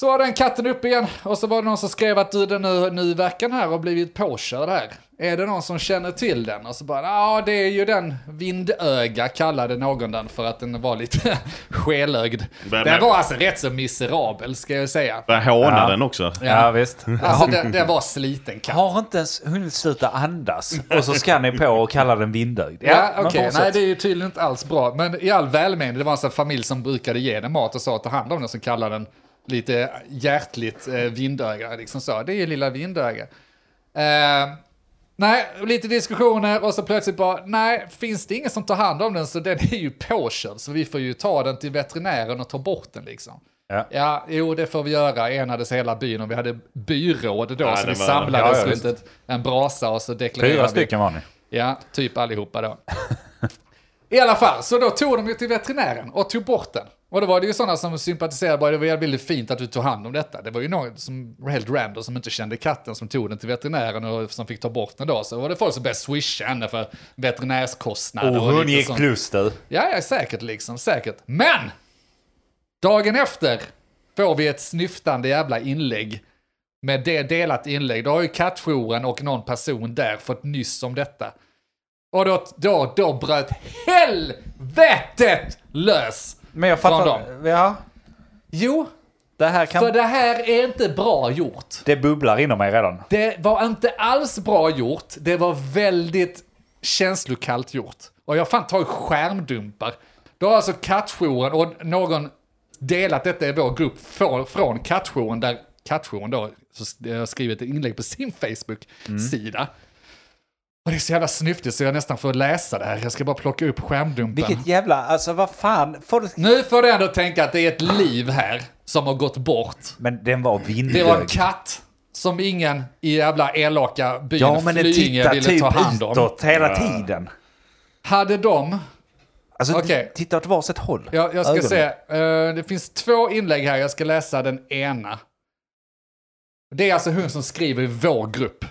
A: Så var den katten upp igen och så var det någon som skrev att du den nu, nu verkar den här ha blivit påkörd här. Är det någon som känner till den? Och så bara, ja det är ju den vindöga kallade någon den för att den var lite skelögd.
C: Men-
A: Den var alltså rätt så miserabel ska jag säga.
C: Jag hånar den också.
B: Ja, visst.
A: Alltså den, den var sliten katt.
B: Har inte ens hunnit sluta andas och så ska ni på och kalla den vindögd.
A: Ja,
B: men
A: okej.
B: fortsätt.
A: Nej, det är ju tydligen inte alls bra. Men i all välmening, det var en sån här familj som brukade ge den mat och sa att ta hand om den, som kallade den lite hjärtligt eh, vindöga. Liksom så. Det är ju lilla vindöga. Eh, nej, och lite diskussioner och så plötsligt bara, nej, finns det ingen som tar hand om den så den är ju påkörd. Så vi får ju ta den till veterinären och ta bort den liksom.
B: Ja.
A: Ja, jo det får vi göra, enades hela byn och vi hade byråd då,
C: Ja,
A: så
C: det
A: vi
C: var-
A: samlades
B: Ja, ja,
A: runt ett, en brasa och så deklarerade
B: Fyra
A: vi.
B: stycken var ni.
A: Ja, typ allihopa då. I alla fall, så då tog de ju till veterinären och tog bort den. Och då var det ju sådana som sympatiserade bara, det var väldigt fint att du tog hand om detta. Det var ju någon som var helt random som inte kände katten som tog den till veterinären och som fick ta bort den då. Så var det folk som började swisha henne för veterinärskostnader.
B: Och hon
A: lite
B: gick
A: sånt.
B: plus du.
A: Ja, ja, säkert liksom, säkert. Men! Dagen efter får vi ett snyftande jävla inlägg. Med det delat inlägg. Då har ju kattjouren och någon person där fått nyss om detta. Och då, då, då bröt helvetet lös!
B: Men jag
A: Från
B: fattar. Ja,
A: Jo,
B: det här kan...
A: för det här är inte bra gjort.
B: Det bubblar inom mig redan.
A: Det var inte alls bra gjort. Det var väldigt känslokallt gjort. Och jag fan tar skärmdumpar. Då har alltså kattjouren och någon delat detta i vår grupp från, från kattjouren där kattjouren då så- har skrivit ett inlägg på sin Facebook-sida. Och det är så jävla snyftigt så jag nästan får läsa det här. Jag ska bara plocka upp skärmdumpen.
B: Vilket jävla... Alltså vad fan. Får du...
A: Nu får du ändå tänka att det är ett liv här som har gått bort.
B: Men den var
A: Det
B: vindögd.
A: var en katt som ingen i jävla elaka byn
B: Ja, men den
A: Flyinge
B: tittar
A: ville
B: typ
A: ta hand om.
B: utåt hela tiden.
A: Hade de,
B: Alltså,
A: Okej.
B: titta åt varsitt håll.
A: jag, jag ska
B: Ögonen.
A: se, eh, det finns två inlägg här, jag ska läsa den ena. Det är alltså hon som skriver i vår grupp.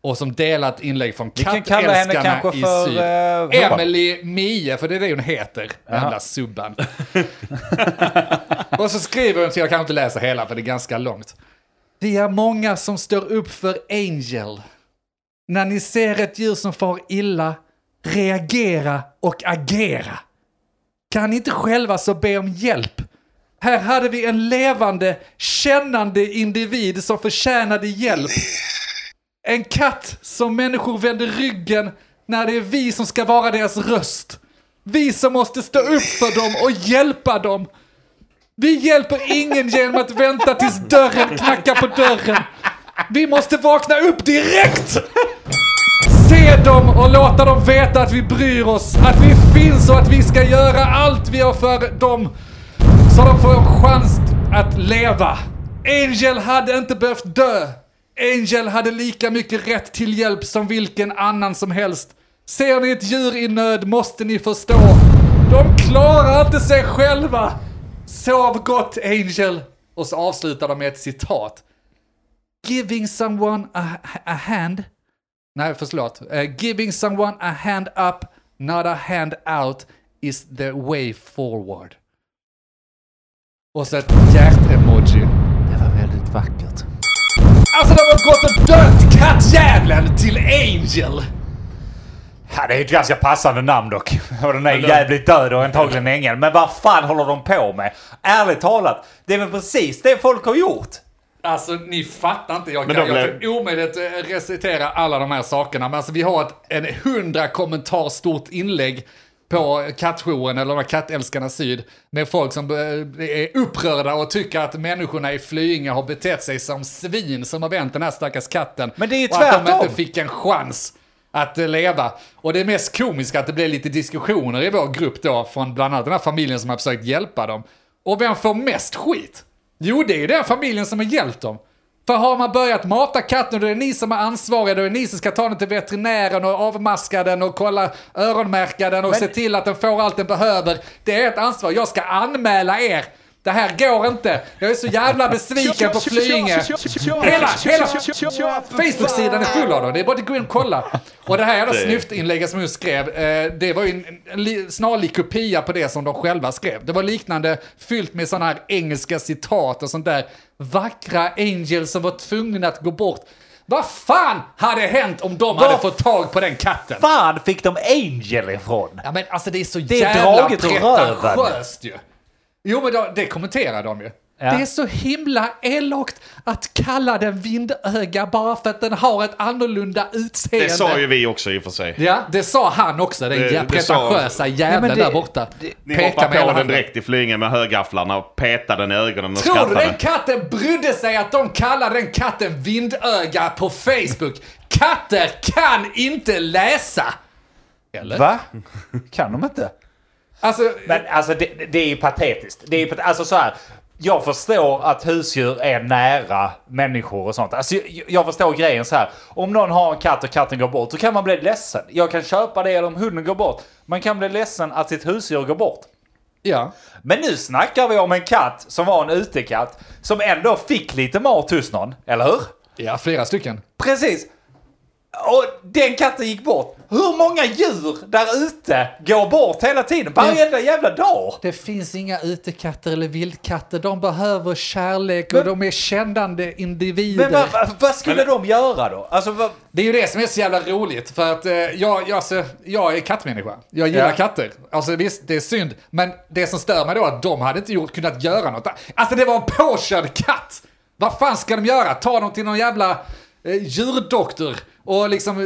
A: Och som delar ett inlägg från
B: Vi kan kalla henne
A: kattälskarna
B: kanske
A: i
B: för,
A: syd.
B: eh, Robban.
A: Emily Mie, för det är det hon heter. Jävla subban. och så skriver hon till, jag kan inte läsa hela för det är ganska långt. Vi är många som står upp för Angel. När ni ser ett djur som far illa, reagera och agera. Kan ni inte själva så be om hjälp? Här hade vi en levande, kännande individ som förtjänade hjälp. En katt som människor vänder ryggen när det är vi som ska vara deras röst. Vi som måste stå upp för dem och hjälpa dem. Vi hjälper ingen genom att vänta tills dörren knackar på dörren. Vi måste vakna upp direkt! Se dem och låta dem veta att vi bryr oss, att vi finns och att vi ska göra allt vi har för dem. Så de får en chans att leva. Angel hade inte behövt dö. Angel hade lika mycket rätt till hjälp som vilken annan som helst. Ser ni ett djur i nöd måste ni förstå. De klarar inte sig själva. Sov gott Angel. Och så avslutar de med ett citat. Giving someone a, a hand Nej, förlåt. Eh, giving someone a hand up, not a hand out is the way forward. Och så ett hjärt-emoji.
B: Det var väldigt vackert.
A: Alltså de har gått och döpt kattjäveln till Angel!
B: Ja, det är ett ganska passande namn dock. Och den är jävligt död och antagligen ängel. Men vad fan håller de på med? Ärligt talat, det är väl precis det folk har gjort?
A: Alltså ni fattar inte, jag
C: Men
A: kan,
C: då
A: jag
C: blev-
A: kan omöjligt eh, recitera alla de här sakerna. Men alltså, vi har ett en hundra kommentar stort inlägg på kattjouren eller de här kattälskarna syd med folk som eh, är upprörda och tycker att människorna i Flyinge har betett sig som svin som har vänt den här stackars katten.
B: Men det är ju
A: och att de
B: tvärtom.
A: inte fick en chans att eh, leva. Och det mest komiska är att det blev lite diskussioner i vår grupp då från bland annat den här familjen som har försökt hjälpa dem. Och vem får mest skit? Jo, det är ju den familjen som har hjälpt dem. För har man börjat mata katten, då är det ni som är ansvariga, då är det ni som ska ta den till veterinären och avmaska den och kolla öronmärka den och se till att den får allt den behöver. Det är ett ansvar. Jag ska anmäla er. Det här går inte. Jag är så jävla besviken på Flyinge. Hela, hela Facebook-sidan är full av dem. Det är bara att gå in och kolla. Och det här jävla
C: Det-
A: snyftinlägget som hon skrev, eh, det var ju en, en li, snarlik kopia på det som de själva skrev. Det var liknande, fyllt med sådana här engelska citat och sånt där. Vackra angels som var tvungna att gå bort. Vad fan hade hänt om de hade fått tag på den katten?
B: Fan fick de Angel ifrån?
A: Ja men alltså det är så
B: är
A: jävla
B: draget ur röven.
A: pretentiöst ju. Jo men då, det kommenterar de ju.
B: Ja.
A: Det är så himla elakt att kalla den vindöga bara för att den har ett annorlunda utseende.
C: Det sa ju vi också i och för sig.
A: Ja, det sa han också, den
C: Det-
A: jä-
C: det sa-
A: pretentiösa jävlen
B: Ja, men det-
A: där borta.
C: Ni
A: Pekar med
C: hoppade
A: hela
C: på den
A: handen.
C: direkt i flygen med högafflarna, petade den i ögonen och
A: Tror du den
C: skrattade.
A: katten brydde sig att de kallar den katten vindöga på Facebook? Katter kan inte läsa! Eller?
B: Va? Kan de inte?
A: Alltså,
B: Men alltså det, det- det är ju patetiskt. Det är ju pat- alltså så här. Jag förstår att husdjur är nära människor och sånt. Alltså, jag, jag förstår grejen så här. Om någon har en katt och katten går bort så kan man bli ledsen. Jag kan köpa det eller om hunden går bort. Man kan bli ledsen att sitt husdjur går bort.
A: ja.
B: Men nu snackar vi om en katt som var en utekatt som ändå fick lite mat hos någon, eller hur?
A: Ja, flera stycken.
B: Precis. Och den katten gick bort. Hur många djur där ute går bort hela tiden? Varenda jävla dag!
A: Det finns inga utekatter eller vildkatter. De behöver kärlek och
B: Men-
A: de är kännande individer.
B: Men vad vad- vad skulle de göra då? Alltså, vad,
A: Det är ju det som är så jävla roligt. För att eh, jag, jag, alltså, jag är kattmänniska. Jag gillar
B: Ja.
A: katter. Alltså visst, det är synd. Men det som stör mig då är att de hade inte gjort, kunnat göra något. Alltså det var en påkörd katt! Vad fan ska de göra? Ta dem till någon jävla eh, djurdoktor och liksom eh,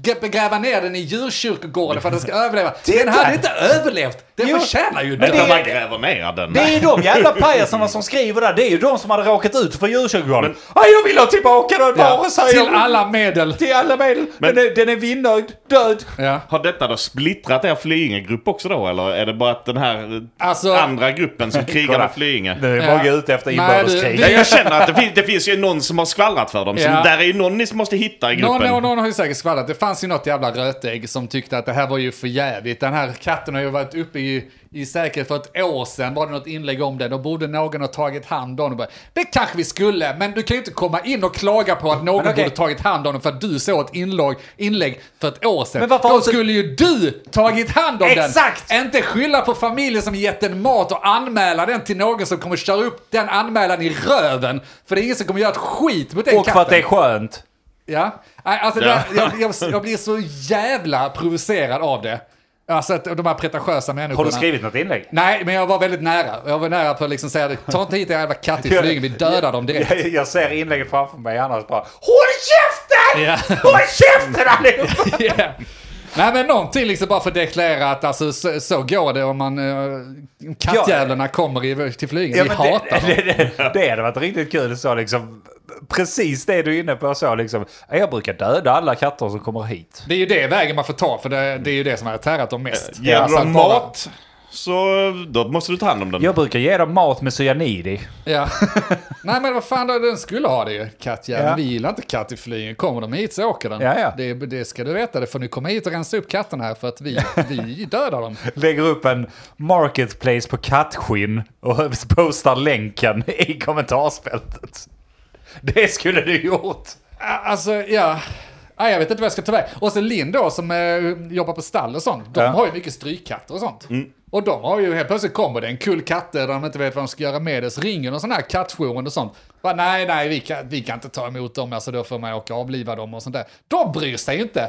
A: gre- begräva ner den i djurkyrkogården för att den ska överleva. Den
B: Titta!
A: hade inte överlevt! Den
B: Jo,
A: förtjänar ju
B: men
A: död.
C: När
B: det-
C: man gräver ner den.
B: det är ju de jävla pajaserna som skriver där. Det är ju de som hade råkat ut för djurkyrkogården. Ah, jag vill ha tillbaka den vare sig
A: Till
B: jag-
A: alla medel.
B: till alla medel.
C: Men-
B: den är, den är vinnöjd, död.
A: Ja.
C: Har detta då splittrat er Flyinge-grupp också då, eller är det bara att den här eh,
A: Alltså-
C: andra gruppen som krigar
B: Kolla.
C: med Flyinge?
B: Nu är
A: Ja.
B: många ute efter
A: Nej,
B: inbördeskrig.
A: du,
C: Nej, jag känner att det, fin- det finns ju någon som har skvallrat för dem. Så
A: Ja.
C: där är ju någon ni som måste hitta i gruppen.
A: Någon, någon, någon har ju säkert skvallrat. Det fanns ju något jävla rötägg som tyckte att det här var ju för jävligt. Den här katten har ju varit uppe i, i säkert för ett år sedan var det något inlägg om den. Då borde någon ha tagit hand om den. Bara, Det kanske vi skulle, men du kan ju inte komma in och klaga på att någon
B: Men okej.
A: borde tagit hand om den för att du såg ett inlag, inlägg för ett år sedan.
B: Men varför har
A: Då
B: inte-
A: skulle ju du tagit hand om
B: Exakt!
A: den. Inte skylla på familjen som gett den mat och anmäla den till någon som kommer köra upp den anmälan i röven. För det är ingen som kommer göra ett skit mot den
B: Och
A: katten.
B: för att det är skönt.
A: Ja, Nej, alltså det
C: Ja.
A: jag, jag, jag blir så jävla provocerad av det. Alltså att de här pretentiösa
B: Har
A: människorna.
B: du skrivit något inlägg?
A: Nej, men jag var väldigt nära. Jag var nära på att liksom säga ta inte hit era jävla katt i flygen, vi dödar dem direkt.
B: Jag, jag ser inlägget framför mig annars bara HÅLL KÄFTEN!
A: Ja.
B: HÅLL KÄFTEN allihopa!
A: Yeah. Nej men någonting liksom bara för att deklarera att alltså, så, så går det om man uh, kattjävlarna kommer i, till flygen. vi
B: men
A: hatar dem.
B: det, det, det, det hade varit riktigt kul så liksom. Precis det du är inne på så liksom. Jag brukar döda alla katter som kommer hit.
A: Det är ju det vägen man får ta för det, det är ju det som har tärat dem mest.
C: Ger du
A: Alltså,
C: dem
A: att bara-
C: mat, så då måste du ta hand om den.
B: Jag brukar ge dem mat med cyanid i.
A: Ja. Nej men vad fan, då, den skulle ha det ju. Kattjäveln,
B: Ja.
A: vi gillar inte katt i flygen. Kommer de hit så åker den.
B: Ja, ja.
A: Det, det ska du veta, det får ni komma hit och rensa upp katten här för att vi, vi dödar dem.
B: Lägger upp en marketplace på kattskinn och postar länken i kommentarsfältet. Det skulle du gjort.
A: Alltså, ja. Nej, jag vet inte vad jag ska ta väg. Och sen Linn då som eh, jobbar på stall och sånt. De
B: Ja. Mm.
A: har ju mycket strykkatter och sånt. Och de har ju helt plötsligt kommer det en kull katter där de inte vet vad de ska göra med det. Så ringer någon sån här kattjour och sånt. Bara, nej, nej, vi kan, vi kan inte ta emot dem. Alltså då får man åka och avliva dem och sånt där. De bryr sig ju inte.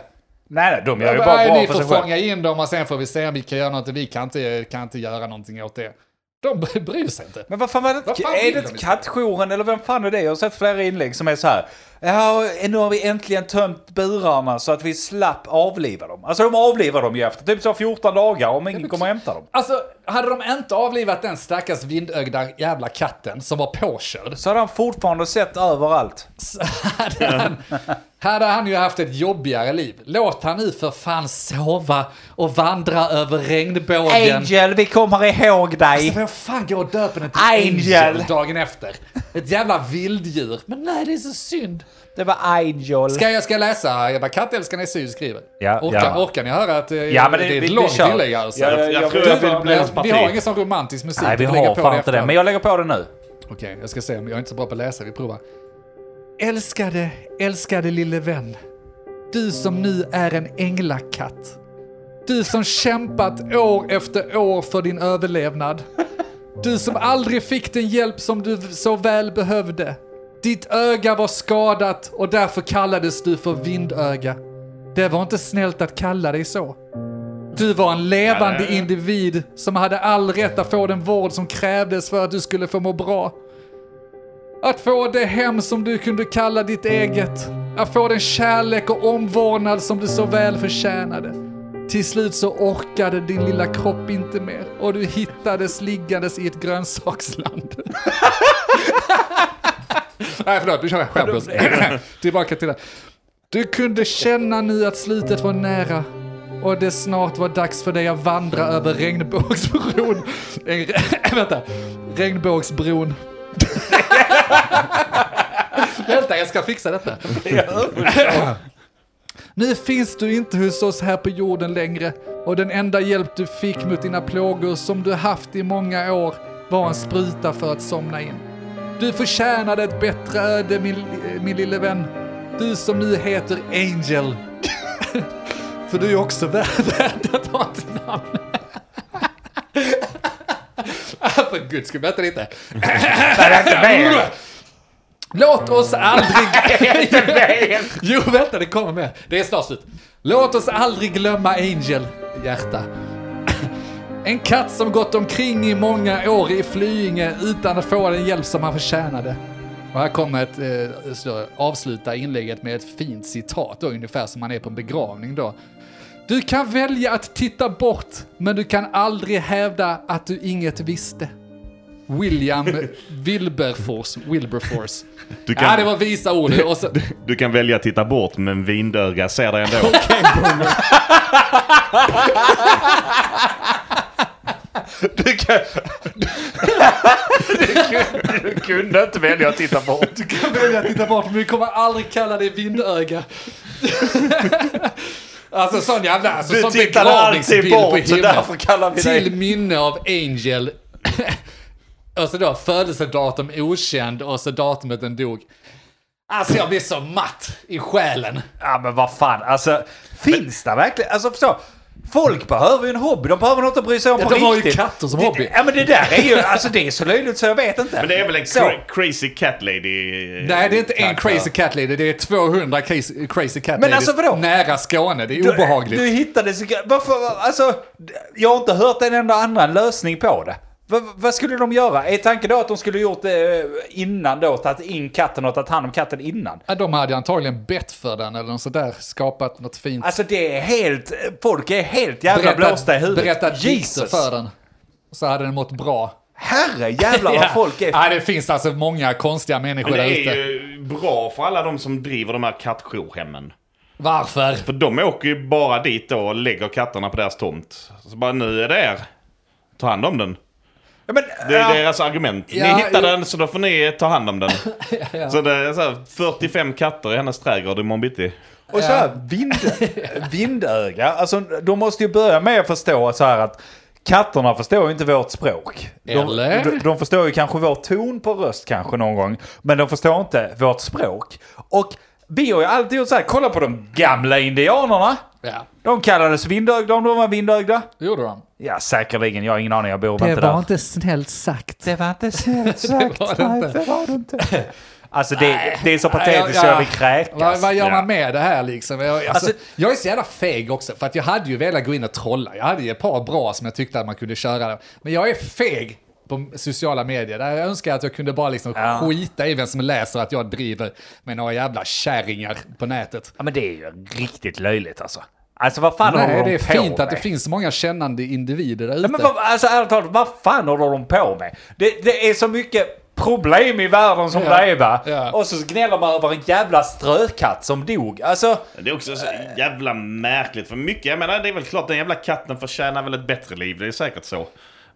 B: Nej, nej, de gör ju
A: men,
B: bara
A: nej,
B: bra
A: ni
B: för
A: får
B: sig själva.
A: fånga in dem och sen får vi se om vi kan göra något. Vi kan inte, kan inte göra någonting åt det. De bry- bryr sig inte.
B: Men vad fan var det?
A: Vad fan
B: är
A: vill
B: det
A: de
B: inte kattjouren eller vem fan är det? Jag har sett flera inlägg som är så här. Ja, nu har vi äntligen tömt burarna så att vi slapp avliva dem. Alltså de avlivar dem ju efter typ så 14 dagar om ingen kommer och hämtar dem.
A: Alltså, hade de inte avlivat den stackars vindögda jävla katten som var påkörd,
B: Så hade han fortfarande sett överallt.
A: så hade han, hade han ju haft ett jobbigare liv. Låt han nu för fan sova och vandra över regnbågen.
B: Angel, vi kommer ihåg dig!
A: Alltså, vem fan går och döper den till
B: Angel.
A: Angel. dagen efter? Ett jävla vilddjur. Men nej, det är så synd.
B: Det var Angel.
A: Ska jag ska läsa Ebba Kattälskarna i syd skriver.
B: Ja,
A: orkar,
B: ja.
A: orkar ni höra att eh,
B: Ja, men det-
A: det, är
B: vi-
A: ett
B: vi
A: långt
B: kör.
A: tillägg alltså?
B: Ja, ja,
C: Jag,
B: jag
C: jag tror
B: vet
C: jag vill
B: vad-
C: bli hans parti.
A: vi har ingen sån romantisk musik
B: Nej, vi
A: att lägga
B: har
A: på
B: fan
A: det
B: inte
A: efter.
B: det. Men jag lägger på det nu.
A: Okej, jag ska se om jag är inte så bra på att läsa. Vi provar. Älskade, älskade lille vän. Du som nu är en änglakatt. Du som kämpat år efter år för din överlevnad. Du som aldrig fick den hjälp som du så väl behövde. Ditt öga var skadat och därför kallades du för vindöga. Det var inte snällt att kalla dig så. Du var en levande
C: Ja, det-
A: individ som hade all rätt att få den vård som krävdes för att du skulle få må bra. Att få det hem som du kunde kalla ditt eget. Att få den kärlek och omvårdnad som du så väl förtjänade. Till slut så orkade din lilla kropp inte mer och du hittades liggandes i ett grönsaksland. Nej förlåt, nu kör jag Skämtlöst. Tillbaka till det. Du kunde känna nu att slutet var nära och det snart var dags för dig att vandra över regnbågsbron. En, vänta, regnbågsbron. vänta, jag ska fixa detta. Nu finns du inte hos oss här på jorden längre och den enda hjälp du fick mot dina plågor som du haft i många år var en spruta för att somna in. Du förtjänade ett bättre öde min, min lille vän. Du som nu heter Angel. För du är också värd värd att ha ett namn. Ah, För guds skull, vänta lite. Mm. Låt oss aldrig... Jo, vänta, det kommer med. Det är snart slut. Låt oss aldrig glömma Angel, hjärta. En katt som gått omkring i många år i Flyinge utan att få den hjälp som han förtjänade. Och här kommer ett, eh, så, avsluta inlägget med ett fint citat, då, ungefär som man är på en begravning då. Du kan välja att titta bort, men du kan aldrig hävda att du inget visste. William Wilberforce. Wilberforce.
C: Du kan-
A: Ja, det var visa ord. Och så,
C: Du kan välja att titta bort, men vindöga ser dig ändå.
B: Du kan...
C: Du kunde inte välja att titta bort.
A: kan välja att titta bort, men vi kommer aldrig kalla dig vindöga. alltså sån jävla... Alltså,
B: Du
A: sån
B: tittade alltid
A: begravningsbild på
B: bort, så
A: himlen.
B: därför kallar vi dig-
A: Till minne av Angel. och så då födelsedatum okänd och så datumet den dog. Alltså jag blir så matt i själen.
B: Ja men vad fan, alltså finns det verkligen? Alltså förstå, folk behöver ju en hobby, de behöver något att bry sig om
A: Ja,
B: på
A: de har ju
B: riktigt.
A: katter som
B: det,
A: hobby.
B: Ja men det där är ju, alltså det är så löjligt så jag vet inte.
C: Men det är väl en
B: Så.
C: cra- crazy cat lady? eh,
A: Nej, det är inte en
C: karaktär.
A: crazy cat lady, det är 200 crazy, crazy cat
B: Men
A: ladies
B: alltså, vadå?
A: nära Skåne. Det är
B: Du-
A: obehagligt.
B: Du hittade så... Varför, alltså, jag har inte hört en enda annan lösning på det. Va, vad skulle de göra? Är tanken då att de skulle gjort det innan då, tagit in katten och tagit hand om katten innan?
A: Ja, De hade antagligen bett för den eller något sådär, skapat något fint.
B: Alltså det är helt, folk är helt jävla blåsta i huvudet.
A: berättat Jesus för den. Så hade den mått bra.
B: Herre jävlar vad folk är.
A: Ja, det finns alltså många konstiga människor
C: Men det
A: där
C: är
A: ute.
C: ju bra för alla de som driver de här kattjourhemmen.
A: Varför?
C: För de åker ju bara dit då och lägger katterna på deras tomt. Så bara nu är det er. Ta hand om den.
B: Ja, men,
C: Det är
B: ja.
C: deras argument. Ni
A: Ja,
C: hittar
A: jo.
C: den så då får ni ta hand om den. Så det är så här 45 katter i hennes trädgård imorgon bitti.
B: Och så här, vind, vindöga, alltså de måste ju börja med att förstå så här att katterna förstår ju inte vårt språk. De,
A: Eller?
B: de, de förstår ju kanske vår ton på röst kanske någon gång, men de förstår inte vårt språk. Och vi har ju alltid gjort så här, kolla på de gamla indianerna.
A: Ja,
B: De kallades vindögda om de var vindögda.
A: det gjorde de.
B: Ja, säkerligen. Jag har ingen aning, jag bor inte där.
A: inte snällt sagt.
B: Det var inte snällt
A: sagt. var det Nej, inte. det
B: var det inte. Alltså det, det är så patetiskt
A: Ja,
B: så
A: ja.
B: jag vill kräkas.
A: Vad, vad gör
C: Ja.
A: man med det här liksom? Jag, alltså,
B: Alltså-
A: jag är så jävla feg också, för att jag hade ju velat gå in och trolla. Jag hade ju ett par bra som jag tyckte att man kunde köra. Men jag är feg på sociala medier. Där jag önskar att jag kunde bara liksom
B: Ja.
A: skita i vem som läser att jag driver med några jävla kärringar på nätet.
B: Ja men det är ju riktigt löjligt alltså. Alltså vad fan
A: Nej,
B: håller de
A: det är
B: på
A: fint att det
B: med?
A: finns så många kännande individer där
B: Nej,
A: ute.
B: men vad, alltså ärligt talat, vad fan håller de på med? Det, det är så mycket problem i världen som
A: Ja.
B: det är va?
A: Ja.
B: Och så gnäller man över en jävla strökatt som dog. Alltså,
C: Det är också så jävla märkligt. För mycket, jag menar det är väl klart den jävla katten förtjänar väl ett bättre liv. Det är säkert så.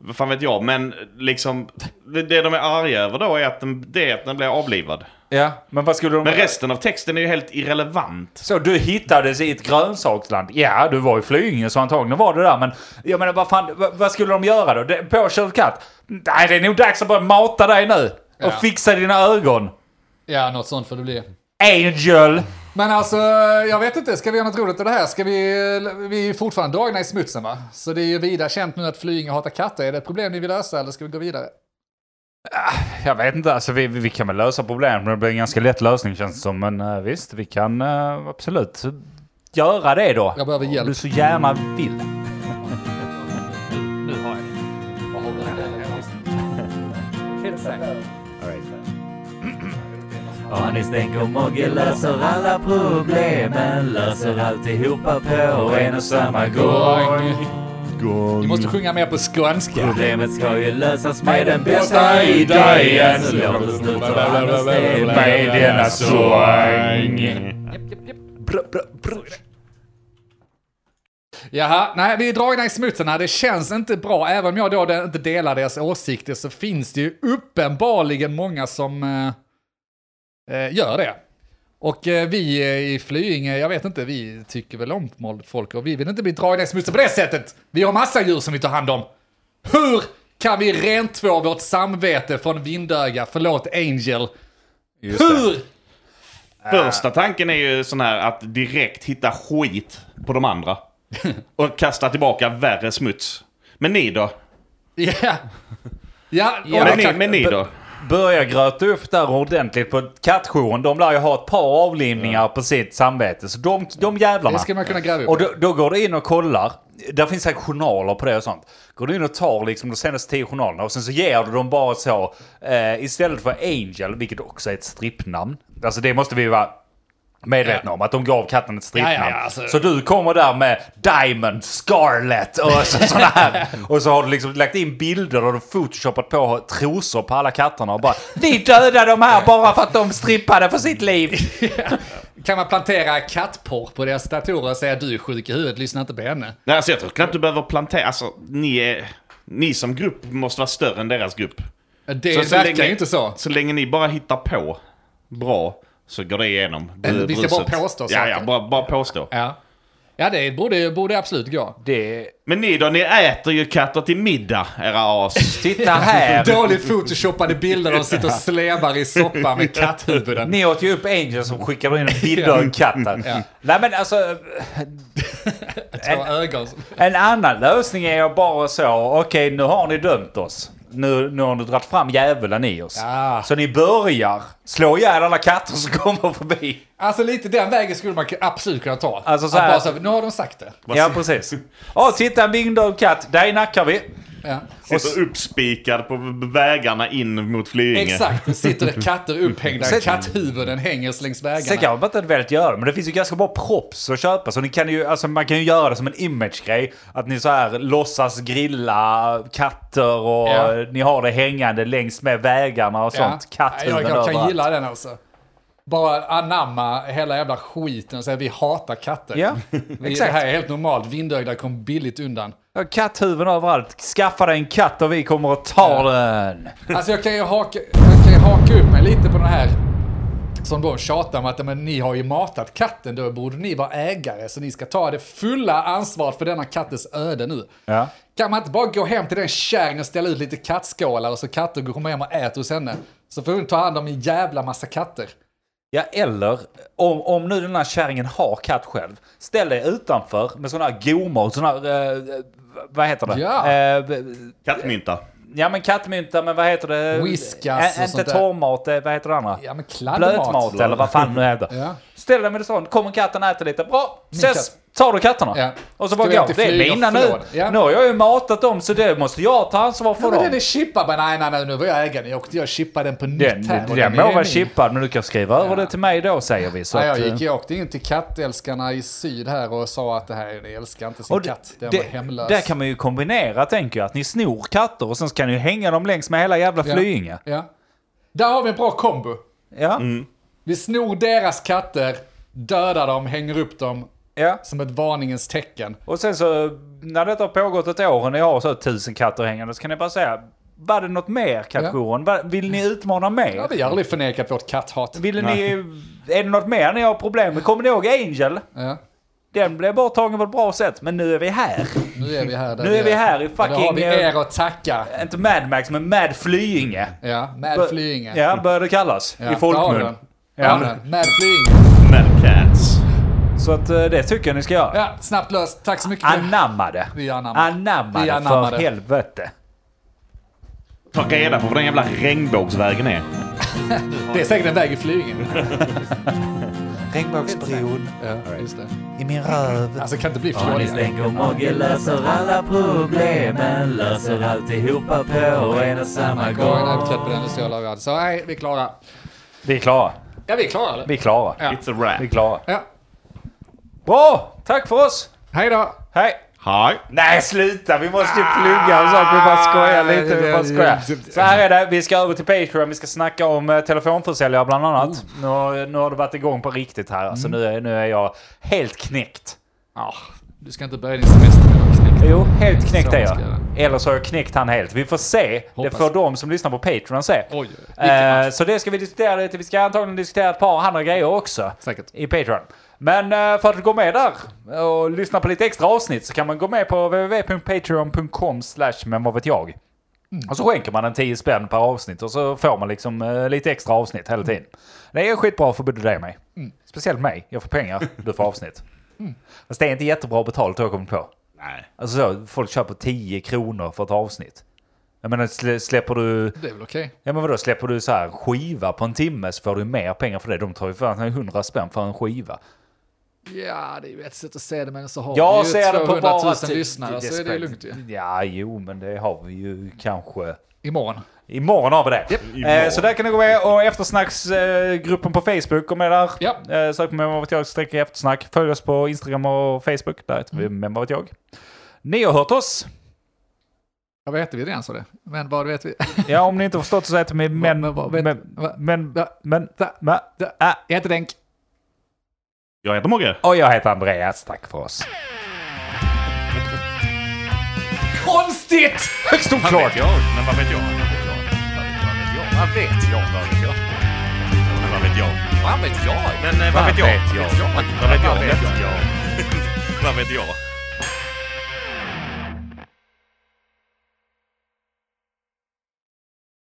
C: Vad fan vet jag. Men liksom, det, det de är arga över då är att den, det är att den blir avlivad.
B: ja, men vad skulle de...
C: Men resten av texten är ju helt irrelevant.
B: Så du hittades i ett grönsaksland. Ja, du var i Flyinge så antagligen var du där. Men jag menar, vad fan, vad, vad skulle de göra då? Det- Påkörd katt? Nej, det är nog dags att börja mata dig nu.
A: Ja.
B: Och fixa dina ögon.
A: Ja, något sånt får det bli.
B: Angel!
A: Men alltså, jag vet inte, ska vi göra något roligt av det här? Ska vi, vi är ju fortfarande dragna i smutsen va? Så det är ju vida känt nu att Flyinge hatar katter. Är det ett problem ni vill lösa eller ska vi gå vidare?
B: Jag vet inte, alltså vi, vi kan väl lösa problem. Det blir en ganska lätt lösning känns det som. Men eh, visst, vi kan eh, absolut göra det då.
A: Jag behöver hjälp.
B: Om du så gärna vill.
E: Anis den god Mogge löser alla problemen Löser alltihopa på en och samma gång
A: Vi måste sjunga mer på skånska.
E: Problemet ska ju lösas med den bästa idén Så låt oss nu ta alla steg med denna
A: Jaha, nej vi är dragna i smutsen här. Det känns inte bra. Även om jag då de- inte delar deras åsikter så finns det ju uppenbarligen många som eh, eh, gör det. Och eh, vi eh, i Flyinge, jag vet inte, vi tycker väl om vanligt folk och vi vill inte bli dragna i smutsen på det sättet. Vi har massa djur som vi tar hand om. Hur kan vi rentvå vårt samvete från vindöga, förlåt Angel? Hur? Äh.
C: Första tanken är ju sån här att direkt hitta skit på de andra. Och kasta tillbaka värre smuts. Men ni då?
A: Ja. Ja, och-
C: men, ni, men ni då?
B: Börja gröta upp där ordentligt på kattjouren. De lär ju ha ett par avlivningar på sitt samvete. Så de, de jävlarna.
A: Det ska man kunna gräva upp.
B: Och då, då går du in och kollar. Där finns säkert journaler på det och sånt. Går du in och tar liksom de senaste tio journalerna och sen så ger du dem bara så. Eh, istället för Angel, vilket också är ett strippnamn. Alltså det måste vi ju vara medvetna om. Att de gav katten ett strippnamn.
A: Ja, ja, ja, alltså.
B: Så du kommer där med Diamond, Scarlet och så, sådana här. Och så har du liksom lagt in bilder och du photoshopat på trosor på alla katterna och bara Ni dödar de här bara för att de strippade för sitt liv.
A: Kan man plantera kattporr på deras datorer och säga du är sjuk i huvudet, lyssna inte på henne?
C: Nej, alltså jag tror knappt du behöver plantera. Alltså, ni, är, ni som grupp måste vara större än deras grupp.
A: Det
C: Så- så
A: verkar
C: länge-
A: ju inte så.
C: Så länge ni bara hittar på bra så går det igenom.
A: Eller vi ska bara
C: Bruset.
A: påstå
C: Ja,
A: saker.
C: ja, bara, bara påstå.
A: Ja, ja det borde, borde absolut gå.
B: Det...
C: Men ni då, ni äter ju katter till middag, era as.
B: Titta här!
A: Dåligt photoshoppade bilder där de sitter och slevar i soppa med katthuvuden.
B: Ni åt ju upp Angel som skickade in en bild av en katt där.
A: Ja.
B: Nej men alltså,
A: Två ögon. som-
B: en annan lösning är ju bara så, okej nu har ni dömt oss. Nu, nu har ni dragit fram djävulen i oss.
A: Ja.
B: Så ni börjar slå ihjäl alla katter som kommer förbi.
A: Alltså lite den vägen skulle man absolut kunna ta.
B: Alltså, så
A: Att
B: här-
A: bara så här, nu har de sagt det.
B: Ja precis. Åh titta en vingdöd katt, där nackar vi.
A: Ja.
C: Sitter uppspikad på vägarna in mot Flyinge.
A: Exakt, det sitter katter upphängda,
B: Sen-
A: katthuvuden hänger längs
B: Sen
A: vägarna.
B: kanske man inte velat göra det, men det finns ju ganska bra props att köpa. Så ni kan ju, alltså, man kan ju göra det som en image-grej. Att ni så här låtsas grilla katter och
A: Ja.
B: ni har det hängande längs med vägarna och sånt. Katthuvuden
A: jag, jag kan
B: överallt.
A: gilla den alltså. Bara anamma hela jävla skiten och säga vi hatar katter.
B: Ja,
A: vi, det
B: exakt.
A: här är helt normalt, vindögda kom billigt undan.
B: Ja, Katthuvuden överallt. Skaffa dig en katt och vi kommer att ta den.
A: Alltså jag kan ju haka, jag kan ju haka upp mig lite på den här som då tjatar om att men, ni har ju matat katten, då borde ni vara ägare så ni ska ta det fulla ansvaret för denna kattens öde nu.
B: Ja.
A: Kan man inte bara gå hem till den kärringen och ställa ut lite kattskålar och så katter kommer hem och äter hos henne? Så får hon ta hand om en jävla massa katter.
B: Ja, eller om, om nu den här kärringen har katt själv. Ställ dig utanför med sådana här gomor, sådana här... Eh, vad eh, heter det?
A: Ja.
B: Eh,
C: Kattmynta.
B: Ja men kattmynta, men vad heter det?
A: Whiskas
B: Ä-
A: och sånt
B: Inte
A: där.
B: torrmat, det- vad heter det andra?
A: Ja, men kladdmat.
B: Blötmat eller vad fan nu heter.
A: Ja.
B: Ställ dig med det sånt, kommer katten äter lite, bra, ses!
A: katt.
B: Tar du katterna?
A: Ja.
B: Och så bara
A: Ska vi
B: går.
A: inte
B: Det är
A: flyga
B: mina
A: och
B: nu.
A: förlåda? Ja.
B: Nu har jag ju matat dem så det måste jag ta ansvar för
A: Ja,
B: dem.
A: men den är chippad. Men nej, nej, nej, nu var jag ägaren. Jag åkte jag chippade den på nytt
B: Den,
A: här.
B: den,
A: och är
B: må vara
A: min.
B: chippad men du kan skriva över det till mig då säger vi. Så
A: Ja, jag,
B: att,
A: gick,
B: eh,
A: jag åkte in till kattälskarna i syd här och sa att det här ni älskar inte sin
B: och
A: katt. Den
B: det-
A: var hemlös.
B: Där kan man ju kombinera tänker jag. Att ni snor katter och sen så kan ni ju hänga dem längs med hela jävla
A: Ja.
B: Flyinge.
A: Ja. Där har vi en bra kombo.
B: Ja.
A: Vi snor deras katter, dödar dem, hänger upp dem
B: ja.
A: som ett varningens tecken.
B: Och sen så när detta har pågått ett år och ni har så tusen katter hängande så kan ni bara säga var det något mer kattjouren? Var- Vill ni utmana mer?
A: Ja, vi har aldrig förnekat vårt katthat.
B: Vill ni, är det något mer ni har problem med? Kommer ni ihåg Angel?
A: Ja.
B: Den blev borttagen på ett bra sätt, men nu är vi här.
A: Nu är vi här. Där
B: Nu är vi här i fucking- eh,
A: Ja, Då har vi er att tacka.
B: Inte Mad Max, men Mad Flyinge.
A: Ja,
B: Bör-
A: Mad Flyinge.
B: Ja, börjar det kallas. I
A: där har
B: folkmun.
A: du den. Där har du
B: Ja.
A: den. Mad Flyinge.
C: Mad Cats.
B: Så att eh, det tycker jag ni ska göra.
A: Ja, snabbt löst. Tack så mycket.
B: Anamma det.
A: Vi anammar.
B: Anamma
A: Vi
B: det,
A: anammar
B: för
A: det.
B: helvete.
C: Ta reda på vad den jävla regnbågsvägen är.
A: Det är säkert en väg i Flyinge.
B: Regnbågsbron
A: Ja, just det.
B: i min röv.
A: Alltså kan inte bli
E: Anis
A: flådigt.
E: Denk och Mogge löser alla problemen Löser alltihopa på en och samma
A: Jag är
E: gång
A: trött på den industriella världen. Så nej, vi är klara.
B: Vi är klara.
A: Ja, vi är klara eller?
B: Vi är klara.
A: Ja.
C: It's a
B: Vi är
C: wrap.
B: klara.
A: Ja.
B: Bra! Tack för oss!
A: Hej då!
B: Hej!
C: Hej.
B: Nej, sluta! Vi måste ju plugga och så. Vi bara
A: Ah,
B: skojar lite. Vi bara
A: typ
B: skojar. Så här är det. Vi ska över till Patreon. Vi ska snacka om eh, telefonförsäljare bland annat.
A: Oh.
B: Nu, har- nu har det varit igång på riktigt här. Alltså,
A: Mm.
B: nu, är, nu är jag helt knäckt.
A: Ah, du ska inte börja din semester med något knäckt.
B: Jo, helt knäckt
A: Så
B: är jag.
A: ska det.
B: Eller så har jag knäckt han helt. Vi får se.
A: Hoppas.
B: Det får de som lyssnar på Patreon se.
A: Oj, vilken
B: eh,
A: match.
B: så det ska vi diskutera lite. Vi ska antagligen diskutera ett par andra grejer också.
A: Säkert.
B: I Patreon. Men eh, för att gå med där och lyssna på lite extra avsnitt så kan man gå med på www.patreon.com slash men vad vet jag. Och så skänker man en 10 spänn per avsnitt och så får man liksom eh, lite extra avsnitt hela tiden. Det är skitbra för både dig och mig. Speciellt mig. Jag får pengar, du får avsnitt. Fast det är inte jättebra betalt har jag kommit på.
C: Nej.
B: Alltså så, folk köper 10 kronor för ett avsnitt. Jag menar, slä- släpper du...
A: Det är väl okej.
B: Ja men vadå, släpper du så här en skiva på en timme så får du mer pengar för det. De tar ju fan 100 spänn för en skiva.
A: Ja, det är ju ett sätt att se det, men så har
B: Jag
A: vi ju
B: ser det på
A: 200
B: bara...
A: 000
B: ti-
A: lyssnare, så är det
B: spelar-
A: ju lugnt ju.
B: Ja, jo, men det har vi ju kanske...
A: Imorgon.
B: Imorgon har vi det.
C: Imorgon.
B: Eh, så där kan ni gå med och eftersnacksgruppen eh, gruppen på Facebook, gå med där.
A: Japp.
B: Eh, sök på Men vad vet jag streck eftersnack. Följ oss på Instagram och Facebook, där heter
A: Mm.
B: vi Men vad vet jag. Ni har hört oss.
A: Ja, vad heter vi redan, sa det? Men vad vet vi?
B: Ja, om ni inte har förstått så heter vi men...
A: men vad- vet-
B: Men...
A: va-
B: Men...
A: va-
B: Men...
A: va-
B: Men...
A: va-
B: Ah.
A: Jag heter Denk.
C: Jag heter Mogge.
B: Och jag heter Andreas. Tack för oss.
A: Konstigt!
B: Högst
D: Vad vet
B: oklart!
D: jag? Men vad vet jag? Vad vet jag? Vad vet jag? Vad vet jag? Vad vet jag? Men vad vet jag?
C: eh,
D: Vad vet jag? Men vad vet jag? Vad vet jag? Vad vet jag? Vad vet jag?